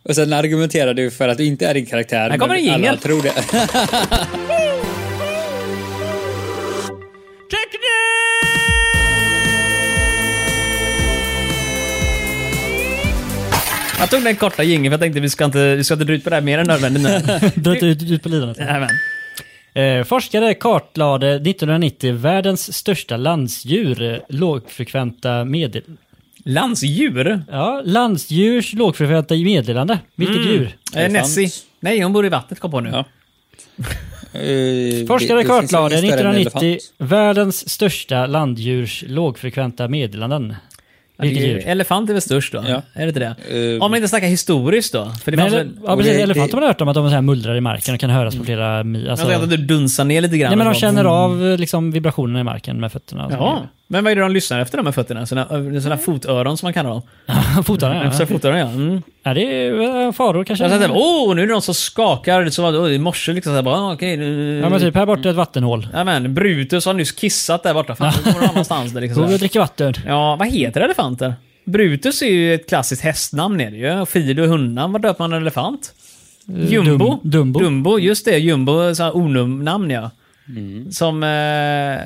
Och sen argumenterar du för att du inte är din karaktär. Här kommer men en jingle. alla tror det. jag tog den korta jingeln för jag tänkte vi ska inte, vi ska inte dra ut på det här mer än nödvändigt nu. Dra inte ut, ut på lidandet. Nämen. Eh, forskare kartlade 1990 världens största landsdjur, eh, lågfrekventa medel... Landsdjur? Ja, landsdjurs lågfrekventa meddelande. Vilket djur? Eh, är Nessie. sant. Nej, hon bor i vattnet kom på nu. Ja. Eh, Forskare det- det finns kartlade en större än en 1990 Eh, elefant. världens största landdjurs lågfrekventa meddelanden. Vilket djur? Elefant är väl störst då? Ja. Är det inte det? Eh, Om man inte snackar historiskt då? För det Men, fanns ele- väl... ja, precis, det- elefanter det- har man hört om att de så här mullrar i marken och kan höras på flera mil. Jag Alltså, tänkte att du dunsar ner lite grann. nej, men de och bara- känner av eh, liksom, vibrationerna i marken med fötterna. och sånt. Ja. Men vad är det de lyssnar efter då med fötterna? Såna, eh, såna fotörron som man kallar dem. Fotarna, Ja. Så ja. fotörron ja. Mm. ja. Det är eh, faror kanske. Jag tänkte åh, nu är det någon som skakar som var i morse liksom. Så här, bara, ah, okej, nu... Ja, men typ här borta är ett vattenhål. Ja, men, Brutus har nyss kissat där borta. Fan, nu går någon annanstans där liksom. Gå så och här. dricka vatten. Ja, vad heter elefanter? Brutus är ju ett klassiskt hästnamn är det ju. Och Fido är hundnamn. Var döper man en elefant? Jumbo. Dum, Dumbo. Dumbo, just det. Jumbo, så här onumnamn ja. Som, eh, ja.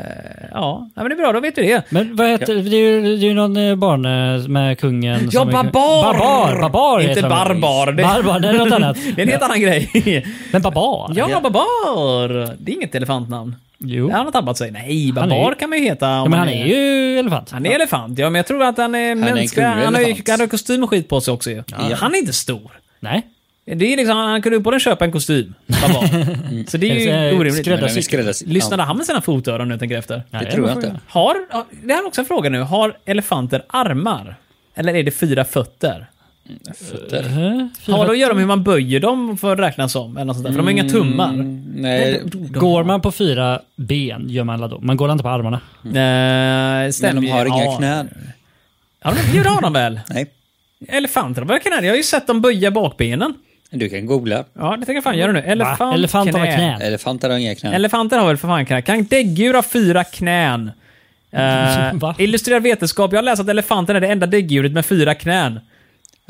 ja, men det är bra, då vet vi det. Men vad heter det? är ju- Det är ju någon eh, barn eh, med kungen. Ja, som är- barbar! Barbar! Barbar Inte heter de. barbar. Det- Barbar, det är något annat. Det är en helt annan grej. Men barbar? Ja, Babar! Det är inget elefantnamn. Jo. Det har han tappat sig. Nej, Han är Babar ju- kan man ju heta. om Ja, men man han är ju elefant. Han är elefant, ja men jag tror att han är en mänsklig. kunglig Han har ju elefant. han har kostym och skit på sig också ju. Han är inte stor. Nej. Det är liksom, han kunde uppenbarligen köpa en kostym. Babar. Så det är Eller ju så- orimligt. Men den är Skräddarsydd. skräddars- Lyssnade han med sina fotöron nu tänker jag efter? Ja, Nej, det tror man jag får Mm. inte. Har, ja, det här är också en fråga nu. Har elefanter armar? Eller är det fyra fötter? Fötter. ju- Har det att göra med hur man böjer dem för att räknas som? Eller något sånt där? För de har inga tummar. Mm, Nej, Går man på fyra ben gör man alla då. Man går inte på armarna. Eh, men stämmer de ju. har inga Ja. knän. Ja, de, jo, det har de väl? Nej, Elefanter har väl knän? Jag har ju sett dem böja bakbenen. du kan googla. Ja, det tänker jag fan göra nu. Elefant, Va? Elefant har knän. Elefanter har inga knän. Elefanter har väl för fan knän? Kan däggdjur ha fyra knän? Eh, Va? illustrerad vetenskap. Jag har läst att elefanten är det enda däggdjuret med fyra knän.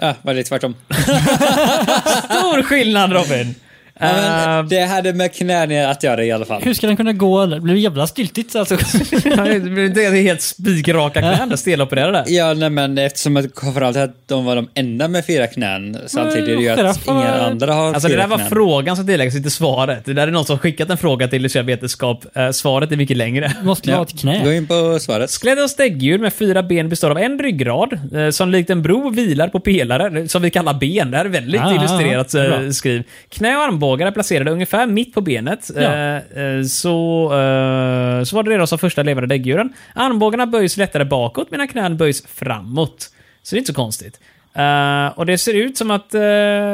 Ja, var det tvärtom? Stor skillnad Robin! Nej, men Eh, det hade med knän att göra i alla fall. Hur ska den kunna gå? Det blir jävla styltigt alltså. det är helt spikraka knän, stelopererade där. Ja, nej, men eftersom att framförallt att de var de enda med fyra knän samtidigt det gör att Giraffen har- inga andra har Alltså det fyra där var knän. frågan som tilläggs, inte svaret. Det där är någon som skickat en fråga till illustrerad vetenskap. Eh, svaret är mycket längre. Måste ha ett knä. Gå in på svaret. Sklädd och däggdjur med fyra ben består av en ryggrad eh, som likt en bro vilar på pelare eh, som vi kallar ben. Det här är väldigt Ah, illustrerat ah, eh, bra. skriv. Knä och armbågar är placerade ungefär mitt på benet. Ja. Eh, eh, så, eh, så var det redan som första levande däggdjuren. Armbågarna böjs lättare bakåt medan knän böjs framåt. Så det är inte så konstigt. Eh, och det ser ut som att... eh,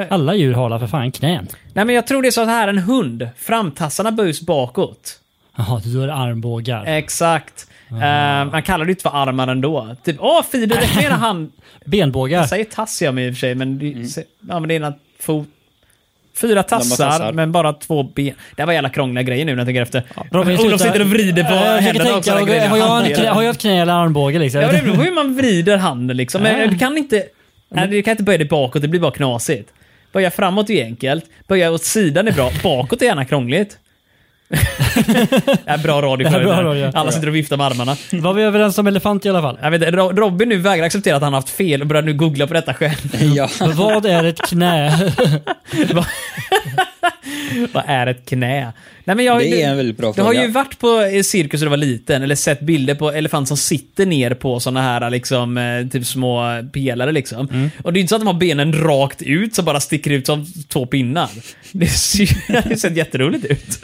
Alla djur har alla för fan knän. nej men jag tror det är så att här en hund. Framtassarna böjs bakåt. Jaha, du gör armbågar. Exakt. Eh, man kallar det ju inte för armar ändå. Typ, åh Fido, räck ner hand. Benbågar. Jag säger tass jag mig i och för sig, men, det- se- Mm. ja, men det är ena fot. Fyra tassar, tassar. men bara två ben. Det här var jävla krångliga grejer nu när jag tänker efter. Robin, Olof sluta. sitter och vrider på Eh, jag försöker händerna också. tänka, den grejen Har jag, han en gör. knä, har jag ett knä eller armbåge liksom? Ja, men det beror på hur man vrider handen liksom. Men du kan inte... Nej, du kan inte böja dig bakåt, det blir bara knasigt. Böja framåt är enkelt. Böja åt sidan är bra. Bakåt är gärna krångligt. det är bra radio för Ja, er bra där. radio. Alla sitter och viftar med armarna. Var vi överens om elefant i alla fall? Jag vet, inte, Ro- Robin nu vägrar acceptera att han har haft fel och börjar nu googla på detta själv. Ja. Vad är ett knä? Vad är ett knä? Nej, men jag, Det är en väldigt bra Du har fråga. ju varit på eh, cirkus när du var liten, eller sett bilder på elefant som sitter ner på såna här liksom, eh, typ små pelare. Liksom. Mm. Och det är ju inte så att de har benen rakt ut som bara sticker ut som två pinnar. Det ser det ser jätteroligt ut.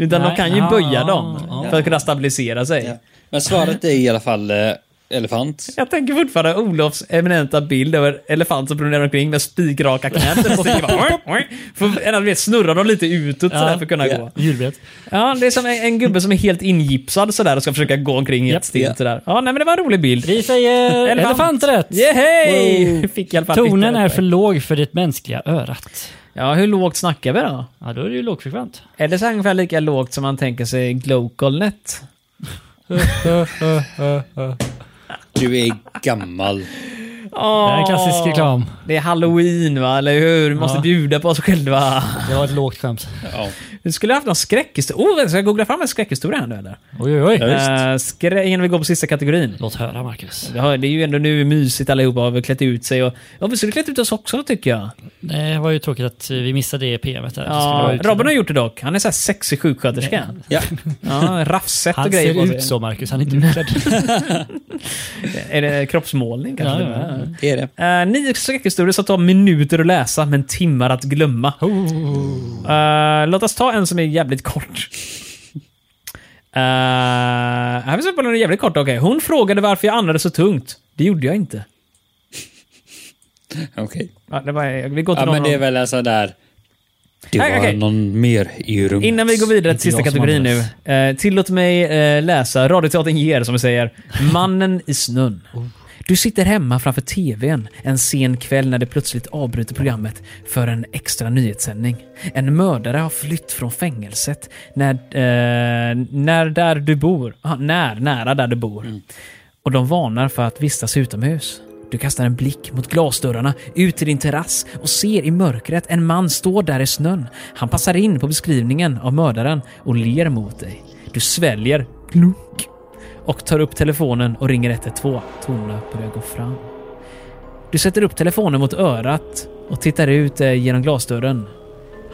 Utan Nej, de kan ju ja, böja ja, dem ja. för att kunna stabilisera sig. Mm. Ah. Ja. Men svaret är i alla fall eh, elefant. Jag tänker fortfarande Olofs eminenta bild över elefant som promenerar omkring med spikraka knän. Och så bara, för, eller, du vet, snurrar de lite utåt sådär för att kunna gå. Julbett. Ja, det är som en, en gubbe som är helt ingipsad sådär och ska försöka gå omkring helt Japp. stelt sådär. Ja, nej men det var en rolig bild. Vi säger Elefant. elefanträtt. Yehey! Wow. Fick i alla fall Tonen ytterligare är ett för låg för ditt mänskliga örat. Ja, hur lågt snackar vi då? Ja, då är det ju lågfrekvent. Är det så här ungefär lika lågt som man tänker sig Glocalnet? Du är gammal. Det här är en klassisk reklam. Det är halloween va, eller hur? Vi måste Ja. bjuda på oss själva. Det var ett lågt skämt. Ja. Du skulle haft någon skräckhistoria. Oh, ska jag googla fram en skräckhistoria här nu eller? Oj, oj, oj. Eh, skrä- innan vi går på sista kategorin. Låt höra, Marcus. Vi har- Det är ju ändå nu mysigt allihopa har vi klätt ut sig. Och, ja, vi skulle klätt ut oss också tycker jag. Det var ju tråkigt att vi missade E det PMet där. Det skulle vara Ja, ut- Robin har gjort det dock. Han är så här sexig sjuksköterska. ja. Ja, raffset och Han grejer. på ser sig. ut så, Marcus. Han är inte utklädd. Är det kroppsmålning kanske? Ja, ja, Det är det. Eh, nio skräckhistorier som tar minuter att läsa, men timmar att glömma. Oh. Eh, låt oss ta en som är jävligt kort. Eh, här finns en som är jävligt kort. Okej, Hon frågade varför jag andades så tungt. Det gjorde jag inte. Okej. Ja, det var, vi går till Ja, någon men det är annan. väl en sån där... Det Nej, var okej. någon mer i rummet. Innan vi går vidare till Inte sista jag som kategorin nu. andades. Eh, tillåt mig eh, läsa Radioteatern ger, som vi säger. Mannen i snön. Du sitter hemma framför TVn en sen kväll när det plötsligt avbryter programmet för en extra nyhetssändning. En mördare har flytt från fängelset när, eh, när där du bor. Ah, när, nära där du bor. Och de varnar för att vistas utomhus. Du kastar en blick mot glasdörrarna ut till din terrass och ser i mörkret en man stå där i snön. Han passar in på beskrivningen av mördaren och ler mot dig. Du sväljer klunk och tar upp telefonen och ringer 112. Tona börjar gå fram. Du sätter upp telefonen mot örat och tittar ut eh, genom glasdörren.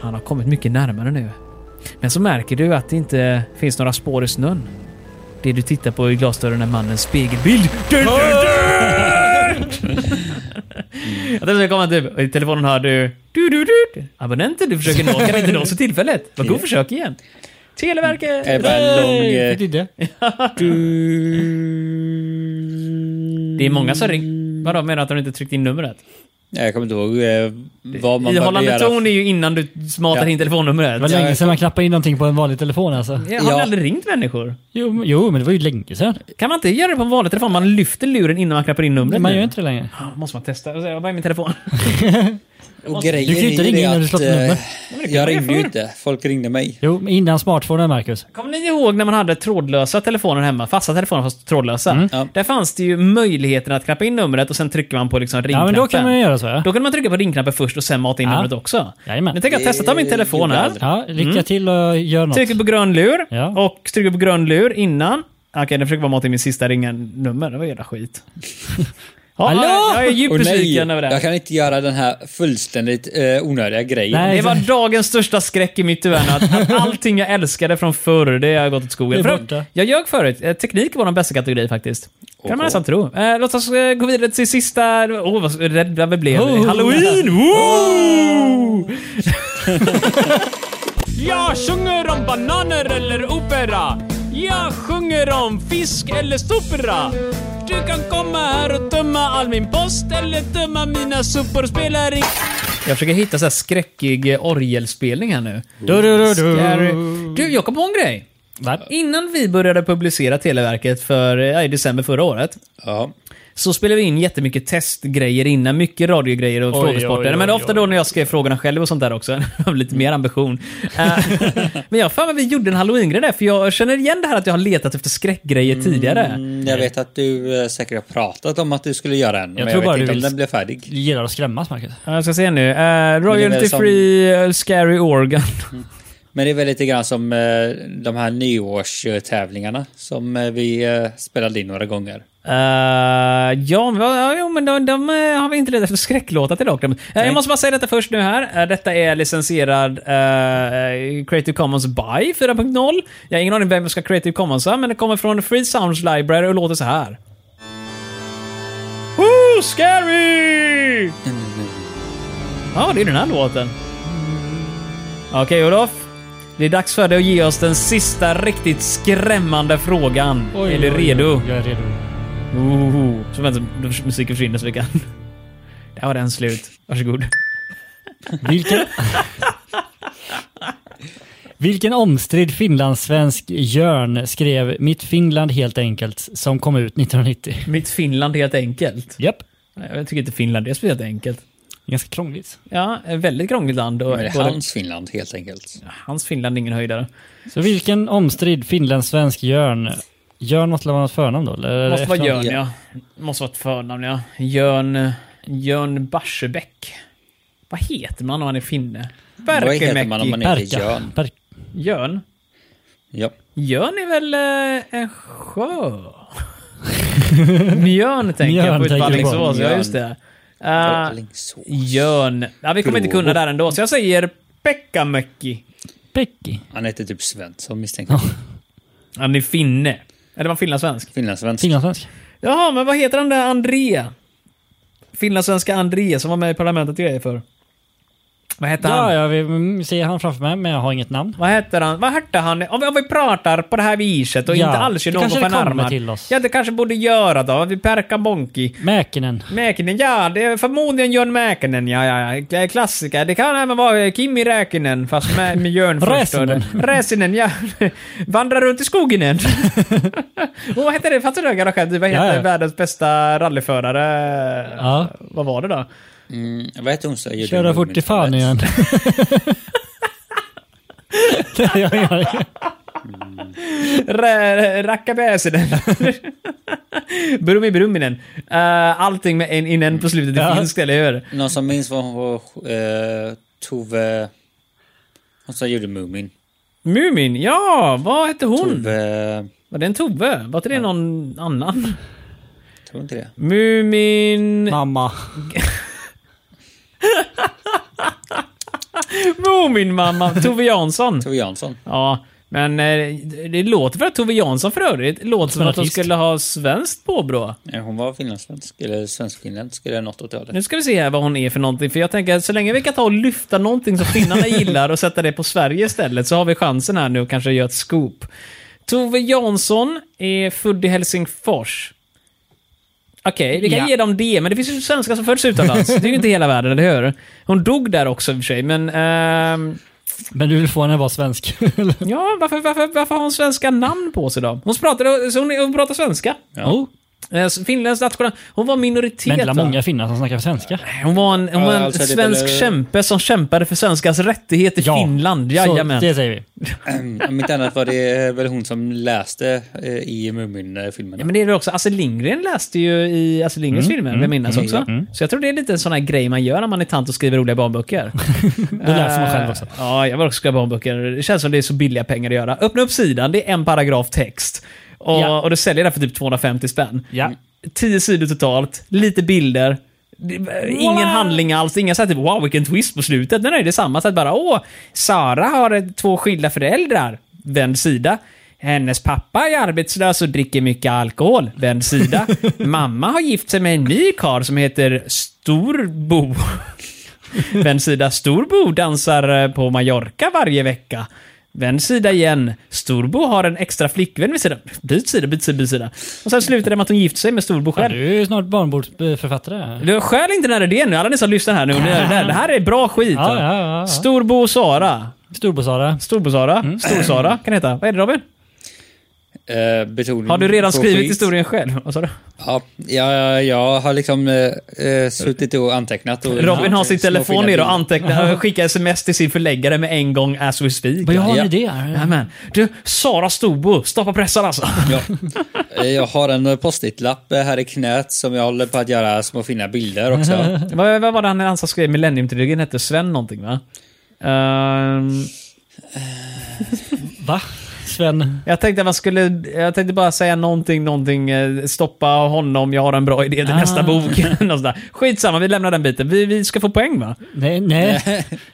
Han har kommit mycket närmare nu. Men så märker du att det inte finns några spår i snön. Det du tittar på i glasdörren är mannens spegelbild. Dun, dun, dun! Jag tänkte säga, komma typ, och i telefonen hör du... du, du, du. Abonnenten du försöker nå kan inte nås för tillfället. Vad god försök igen. Televerket! Det är bara en lång... eh, Det är många som Mm. ringer. Vadå, menar du att de inte tryckt in numret? Nej, jag kommer inte ihåg eh, vad man behövde Ihållande göra. ton är ju innan du matar Ja. in telefonnumret. Det var länge sedan man knappade in någonting på en vanlig telefon alltså. Ja, Har Ja. ni aldrig ringt människor? Jo, men- jo men det var ju länge sedan. Kan man inte göra det på en vanlig telefon? Man lyfter luren innan man knappar in numret. Men man nu. gör inte det längre. Ah, Måste man testa? Vad är min telefon? Och grejen Du kan ju inte är ringa det innan du att, slått eh, nummer. Jag ju ringde ju förr. inte. Folk ringde mig. Jo, men innan smartphonen, Marcus. Kommer ni ihåg när man hade trådlösa telefoner hemma? Fasta telefoner fast trådlösa. Mm. Ja. Där fanns det ju möjligheten att knappa in numret och sen trycker man på liksom Ja, ringknappen. men då kan man ju göra så. Ja. Då kunde man trycka på ringknappen först och sen mata in Ja. numret också. Jajamän. Nu tänker jag testa att ta min Det telefon gjorde jag här. aldrig. Ja, lycka till och gör något. Trycker på grön lur Ja. och trycker på grön lur innan. Okej, den försöker bara mata in min sista ringnummer. Det var jävla skit. Ja, Hallå? Jag är djupt Och nej, besviken över det. jag här. kan inte göra den här fullständigt eh, onödiga grejen. Nej. Det var dagens största skräck i mitt huvud. Att, att allting jag älskade från förr, det har gått åt skogen. Det är För- borta. Jag ljög förut. Eh, Teknik var den bästa kategorin faktiskt. Kan man Oho. nästan tro. Eh, låt oss eh, gå vidare till sista... Åh, oh, vad rädda vi blev. Oh. Halloween! Woo! Jag sjunger om bananer eller opera. Jag sjunger om fisk eller sopera. Du kan komma här och tömma all min post eller tömma mina sopor. Spelar ingen Jag försöker hitta så här skräckig eh, orgelspelning här nu. Du, du, du, du. Där- Du, jag kom på en grej. Va? Innan vi började publicera Televerket för, ja, i december förra året Ja. så spelade vi in jättemycket testgrejer innan, mycket radiogrejer och Oj, frågesporter. oj, oj, Men ofta oj, då när jag skrev frågorna själv och sånt där också. Det var lite mer ambition. Eh, Men jag har för mig att vi gjorde en halloween-grej där, för jag känner igen det här att jag har letat efter skräckgrejer tidigare. Mm, Jag vet att du eh, säkert har pratat om att du skulle göra en, men tror jag vet bara inte du om vill- den blev färdig. Du gillar att skrämmas, Marcus. Ja, Jag ska se nu. Eh, väl royalty som- Free eh, Scary Organ. Men det är väl lite grann som eh, de här nyårstävlingarna som eh, vi eh, spelade in några gånger. Eh, ja, men- ja, jo, men de, de eh, har vi inte letat efter skräcklåtar till dock. Eh, jag måste bara säga detta först nu här. Eh, detta är licensierad eh, Creative Commons by 4.0. Jag har ingen aning vem som ska Creative Commonsa, men det kommer från Free Sounds Library och låter så här. Woo, scary! Ja, det är den här låten. Okej, Olof. Det är dags för dig att ge oss den sista riktigt skrämmande frågan. är du redo? Jag är redo. Ooh, så vänta, musiken försvinner så vi kan... Där var den slut. Varsågod. Vilken... Vilken omstridd finlandssvensk Jörn skrev Mitt Finland helt enkelt som kom ut 1990? Mitt Finland helt enkelt. Japp. Nej, Jag tycker inte Finland är speciellt enkelt. Ganska krångligt. Ja, ett väldigt krångligt land. Och Men det är både- hans Finland helt enkelt. hans Finland är ingen höjdare. Så vilken omstridd finlandssvensk Jörn... Jörn måste väl vara ett förnamn då? Eller Måste vara efternamn? Jörn, ja. Måste vara ett förnamn, ja. Jörn... Jörn Barsebäck. Vad heter man om man är finne? Vad heter man om man Berkemäki. heter Perka. Jörn? Per... Jörn? Ja. Mjön är väl eh, en sjö? Mjön tänker Mjön jag på tänker du på. Utvallingsås, ja just det. Ah. Eh, Ålingsås. Jörn. Ja, vi kommer inte kunna där ändå, så jag säger Pekkamäki. Pekki. Han heter typ Svensson misstänker jag. Han är finne. Eller var finlandssvensk? Finlandssvensk. Finlandssvensk. Jaha, men vad heter han där André? Finlandssvenska André som var med i Parlamentet jag är för. Vad hette Ja, han? jag vill, mm, ser han framför mig men jag har inget namn. Vad hette han? Vad hette han? Om vi, om vi pratar på det här viset och Ja, inte alls är det någon kanske det kommer förnärmad. till oss. Ja, det kanske borde göra då. Vi perkar Bonki. Mäkinen. Mäkinen, ja. Det är förmodligen Jörn Mäkinen, ja, ja, ja. Klassiker. Det kan även vara Kimi Räkinen, fast med, med Jörn först. Räsinen. Räsinen, ja. Vandrar runt i skogen igen. Och vad hette det? Fattar du garaget? Vad hette Ja, ja. världens bästa rallyförare? Ja. Vad var det då? Mm, vad heter hon? så jag gör Köra det fort i fan rätt. igen. Nej, jag gör det. Ra- Rackabäsinen. Brummi Brumminen. Eh, allting med en in en på slutet är Ja. finskt, eller hur? Någon som minns vad hon var? Eh, Tove... Hon som gjorde Mumin. Mumin, ja! Vad hette hon? Tove... Var det en Tove? Var inte det någon annan? Tror inte det. Mumin... Mamma. Muminmamma! Tove Jansson. Tove Jansson. Ja, men eh, det låter för att Tove Jansson för övrigt låter som en att hon artist. skulle ha svenskt påbrå. Nej, Eh, Hon var finlandssvensk, eller svensk-finländsk, eller något åt det hållet. Nu ska vi se här vad hon är för någonting, för jag tänker att så länge vi kan ta och lyfta någonting som finnarna gillar och sätta det på Sverige istället så har vi chansen här nu att kanske göra ett scoop. Tove Jansson är född i Helsingfors. Okej, vi kan Ja. ge dem det, men det finns ju svenskar som föds utomlands. Det är ju inte hela världen, eller hur? Hon dog där också i och för sig, men... ehm, Men du vill få henne att vara svensk? eller? ja, varför, varför, varför har hon svenska namn på sig då? Hon pratar, så hon, hon pratar svenska. Jo. Eh, Finlands nationell... Hon var minoritet. Men det är va? många finnar som snackar svenska. Hon var en, hon var en Ja, alltså, det är svensk väl- kämpe som kämpade för svenskars rättigheter i Ja. Finland. Så Jajamän. det säger vi. Mm. Om inte annat var det eh, väl hon som läste eh, i Mumin-filmerna. Ja, men det är det också. Astrid Lindgren läste ju i Astrid Lindgrens Mm, filmer, vill jag minnas också. Så jag tror det är lite en sån här grej man gör när man är tant och skriver roliga barnböcker. Det läser man själv också. Eh, Ja, jag vill också skriva barnböcker. Det känns som det är så billiga pengar att göra. Öppna upp sidan, det är en paragraf text. Och, Ja. och du säljer det för typ 250 spänn. Ja. 10 sidor totalt, lite bilder. Det- Ingen handling alls, inga såhär typ wow vilken twist på slutet. Nej, nej det är samma. Så att bara åh, Sara har ett- två skilda föräldrar. Vänd sida. Hennes pappa är arbetslös och dricker mycket alkohol. Vänd sida. Mamma har gift sig med en ny karl som heter Storbo. Vänd sida. Storbo dansar eh, på Mallorca varje vecka. Vänd sida igen. Storbo har en extra flickvän vid sidan. Byt sida, byt sida, byt sida. Och sen slutar det med att hon gifter sig med Storbo Ja, själv. du är ju snart barnbordsförfattare. Du skäl inte den här idén nu. Alla ni som lyssnar här nu. Ni är, där. det här är bra skit. Ja, ja, ja, ja. Storbo och Sara. Storbo-Sara. Storbo-Sara. Mm. Stor-Sara kan det heta. Vad är det Robin? Eh, betoning Har du redan på skrivit skit. historien själv? Vad sa du? Ja, jag, jag har liksom eh, eh, suttit och antecknat. Och eh, Robin har sin Små telefon fina ner och bilder. antecknar och skickar sms till sin förläggare med en gång as we speak. Men jag har Ja. en idé här. Jajamän. Du, Sara Storbo. Stoppa pressar alltså. Eh, Jag har en eh, postitlapp eh, här i knät som jag håller på att göra små fina bilder också. Mm. vad, vad var det han, han som skrev Millennium-trilogin? Hette Sven någonting va? Ehm, Va? Sven? Jag tänkte att man skulle, jag tänkte bara säga någonting, någonting, eh, stoppa honom, jag har en bra idé till Ah. nästa bok. Något sånt där. Skitsamma, vi lämnar den biten. Vi, vi ska få poäng va? Nej, nej.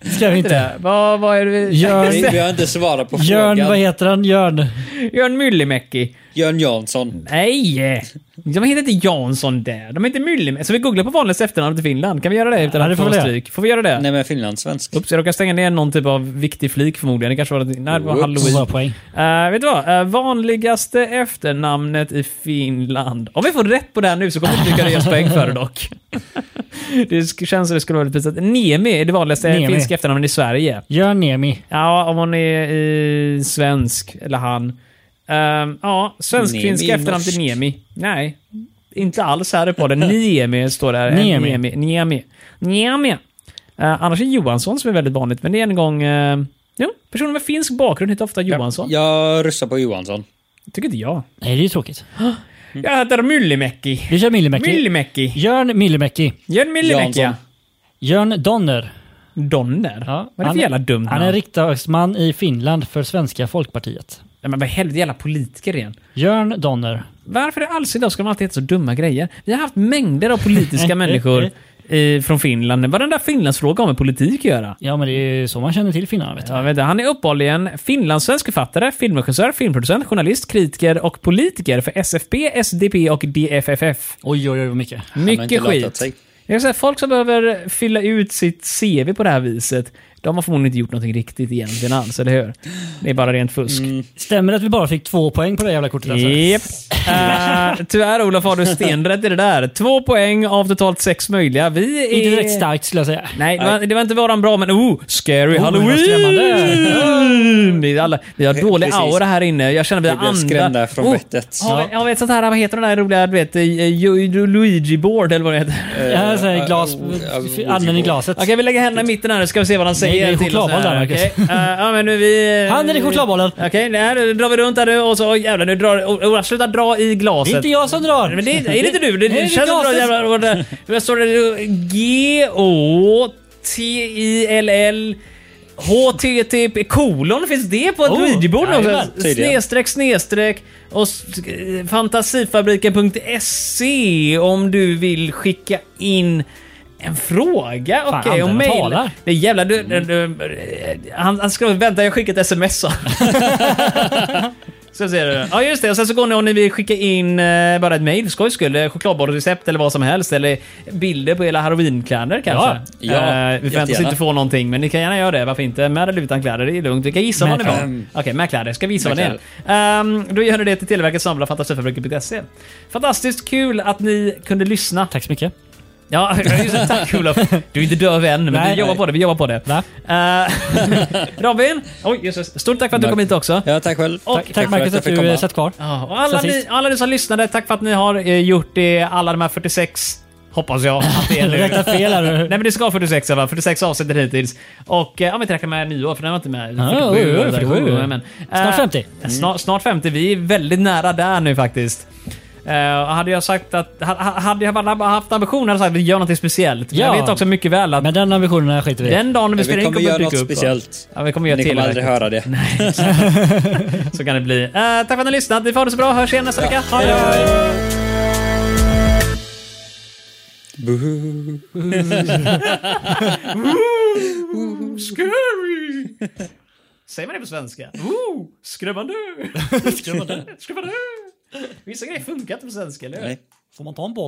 Ska vi inte. Det. Vad, vad är det vi... Jörn, Vi, vi har inte svarat på Alltså, Jörn, vad frågan. heter han? Jörn? Jörn Myllymäki. Jörn Jansson. Nej! De heter inte Jansson där. De heter Myllymäki. Så vi googlar på vanligaste efternamn till Finland. Kan vi göra det utan Ja, att det får få vi göra. stryk? Får vi göra det? Nej men finlandssvensk. Oops, jag råkade stänga ner någon typ av viktig flik förmodligen. Det kanske var, nej, det var Oops. halloween. Bra poäng. Eh, vet du vad? Eh, vanligaste efternamnet i Finland. Om vi får rätt på det här nu så kommer vi inte kunna ge oss poäng för det dock. det sk- känns som det skulle vara lite pinsamt. Niemi är det vanligaste Niemi. finska efternamnet i Sverige. Jörn Niemi. Ja, om hon är i svensk, eller han. Ehm, ja, Niemi svensk-finska är efternamn till norskt. Niemi. Nej, inte alls här på den. Niemi står där. Niemi. Niemi. Niemi. Niemi. Eh, annars är Johansson som är väldigt vanligt, men det är en gång... Uh, jo, personer med finsk bakgrund heter ofta Johansson. Jag russar på Johansson. Tycker inte jag. Nej, det är ju tråkigt. Jag heter Myllymäki. Vi kör Myllymäki. Myllymäki. Jörn Myllymäki. Jörn Myllymäki, ja. Jansson. Jörn Donner. Donner? Ja, vad är det han- för jävla dumt Han är namn? riksdagsman i Finland för Svenska Folkpartiet. Nej, men vad i helvete jävla politiker igen. Jörn Donner. Varför i all sin dag ska de alltid heta så dumma grejer? Vi har haft mängder av politiska människor i, från Finland. Varenda Finlandsfråga har med politik att göra. Ja, men det är ju så man känner till Finland, vet du. Ja, vet du, han är uppehållligen finlandssvensk författare, filmregissör, filmproducent, journalist, kritiker och politiker för SFP, SDP och DFFF. Oj, oj, oj, vad mycket. har inte Mycket latat skit. sig. Jag vill säga, folk som behöver fylla ut sitt CV på det här viset, de har förmodligen inte gjort någonting riktigt egentligen alls, eller hur? Det är bara rent fusk. Stämmer det att vi bara fick två poäng på det jävla kortet? Alltså? Japp. Eh, tyvärr Olof har du stenrätt i det där. Två poäng av totalt sex möjliga. Vi är... Inte direkt starkt skulle jag säga. Nej, det var, det var inte varan bra, men oh, scary Oh, halloween! vad skrämmande. Vi, är alla, vi har dålig precis. aura här inne. Jag känner vi Vi blev andar. skrämda från vettet. Har vi, har vi ett sånt här, vad heter de där roliga, du vet, eh, Ju- Ju- Luigi-board eller vad det heter? Ja, så här, glas, anden i glaset. eh, Okej, vi lägger händerna i mitten här så ska vi se vad han säger. det är till oss chokladboll här, där, okej. Marcus. Eh, ja, men nu vi... eh, Handen i chokladbollen. Okej, där nu drar vi runt där nu och så, oj jävlar, nu drar... Oh, oh, sluta dra i Det glaset. är inte jag som drar. Men det är, är det inte du? Det, Nej, det det är känns bra glaset. jävlar. Och där- Där står det G-O-T-I-L-L HTTP kolon finns det på ett Oh, Luigi-bord jajamän, någonstans? tydligen. Snedstreck, snedstreck och s- eh, fantasifabriken.se om du vill skicka in en fråga. Fan, Okej, och användarna mejla. talar. Mm. Det är jävla... Du, du, du, han, han skrev vänta jag skickar ett sms så. Så ser du. Ja just det, och sen så går ni om ni vill skicka in eh, bara ett mejl för skojs skull. eh, Chokladbollrecept eller vad som helst. Eller bilder på era halloweenkläder kanske. Ja, ja, Eh, vi förväntar oss jättegärna. inte få någonting men ni kan gärna göra det. Varför inte? Med eller utan kläder, det är lugnt. Vi kan gissa Med vad ni var. kläder. Okej, med kläder. Ska vi gissa vad Med ni är? Um, då gör ni det till Televerket snabel-a fantasifabriken.se. Fantastiskt kul att ni kunde lyssna. Tack så mycket. Ja, just det. tack Olof. Du är inte döv än, men Nej, vi jobbar nej. på det. Vi jobbar på det. Va? Eh, Robin, oj, just, det. stort tack för att du kom hit också. Ja, tack själv. Och Tack, tack Marcus att fick komma. du satt kvar. Ja, och alla, Sen ni, sist. alla ni som lyssnade, tack för att ni har eh, gjort det. Alla de här 46, hoppas jag att det är nu. Räkna fel här. Nej men det ska vara 46 va? 46 avsnitt hittills. Och eh, ja, vi inte räkna med nyår för den var inte med. Ja, 47, oj, oj, 47. ja, men, eh, Snart 50. Snart, snart 50. Vi är väldigt nära där nu faktiskt. Eh, och hade jag sagt att, ha- ha- hade jag bara haft ambitionen hade jag sagt att vi gör något speciellt. Men Ja. jag vet också mycket väl att Men den ambitionen skiter vi i. den dagen vi Vi spelar in kommer kommer göra det dyka något upp. va? speciellt. Ja, vi kommer göra Ni kommer aldrig Televerket. höra det. Så kan det bli. Eh, tack för att ni har lyssnat. Ni får ha det så bra. Hörs igen nästa vecka. Ha det! Scary! Säger man det på svenska? Ooh, skrämmande! skrämmande! Vissa grejer funkar inte på svenska, eller hur? Nej. Får man ta en boll?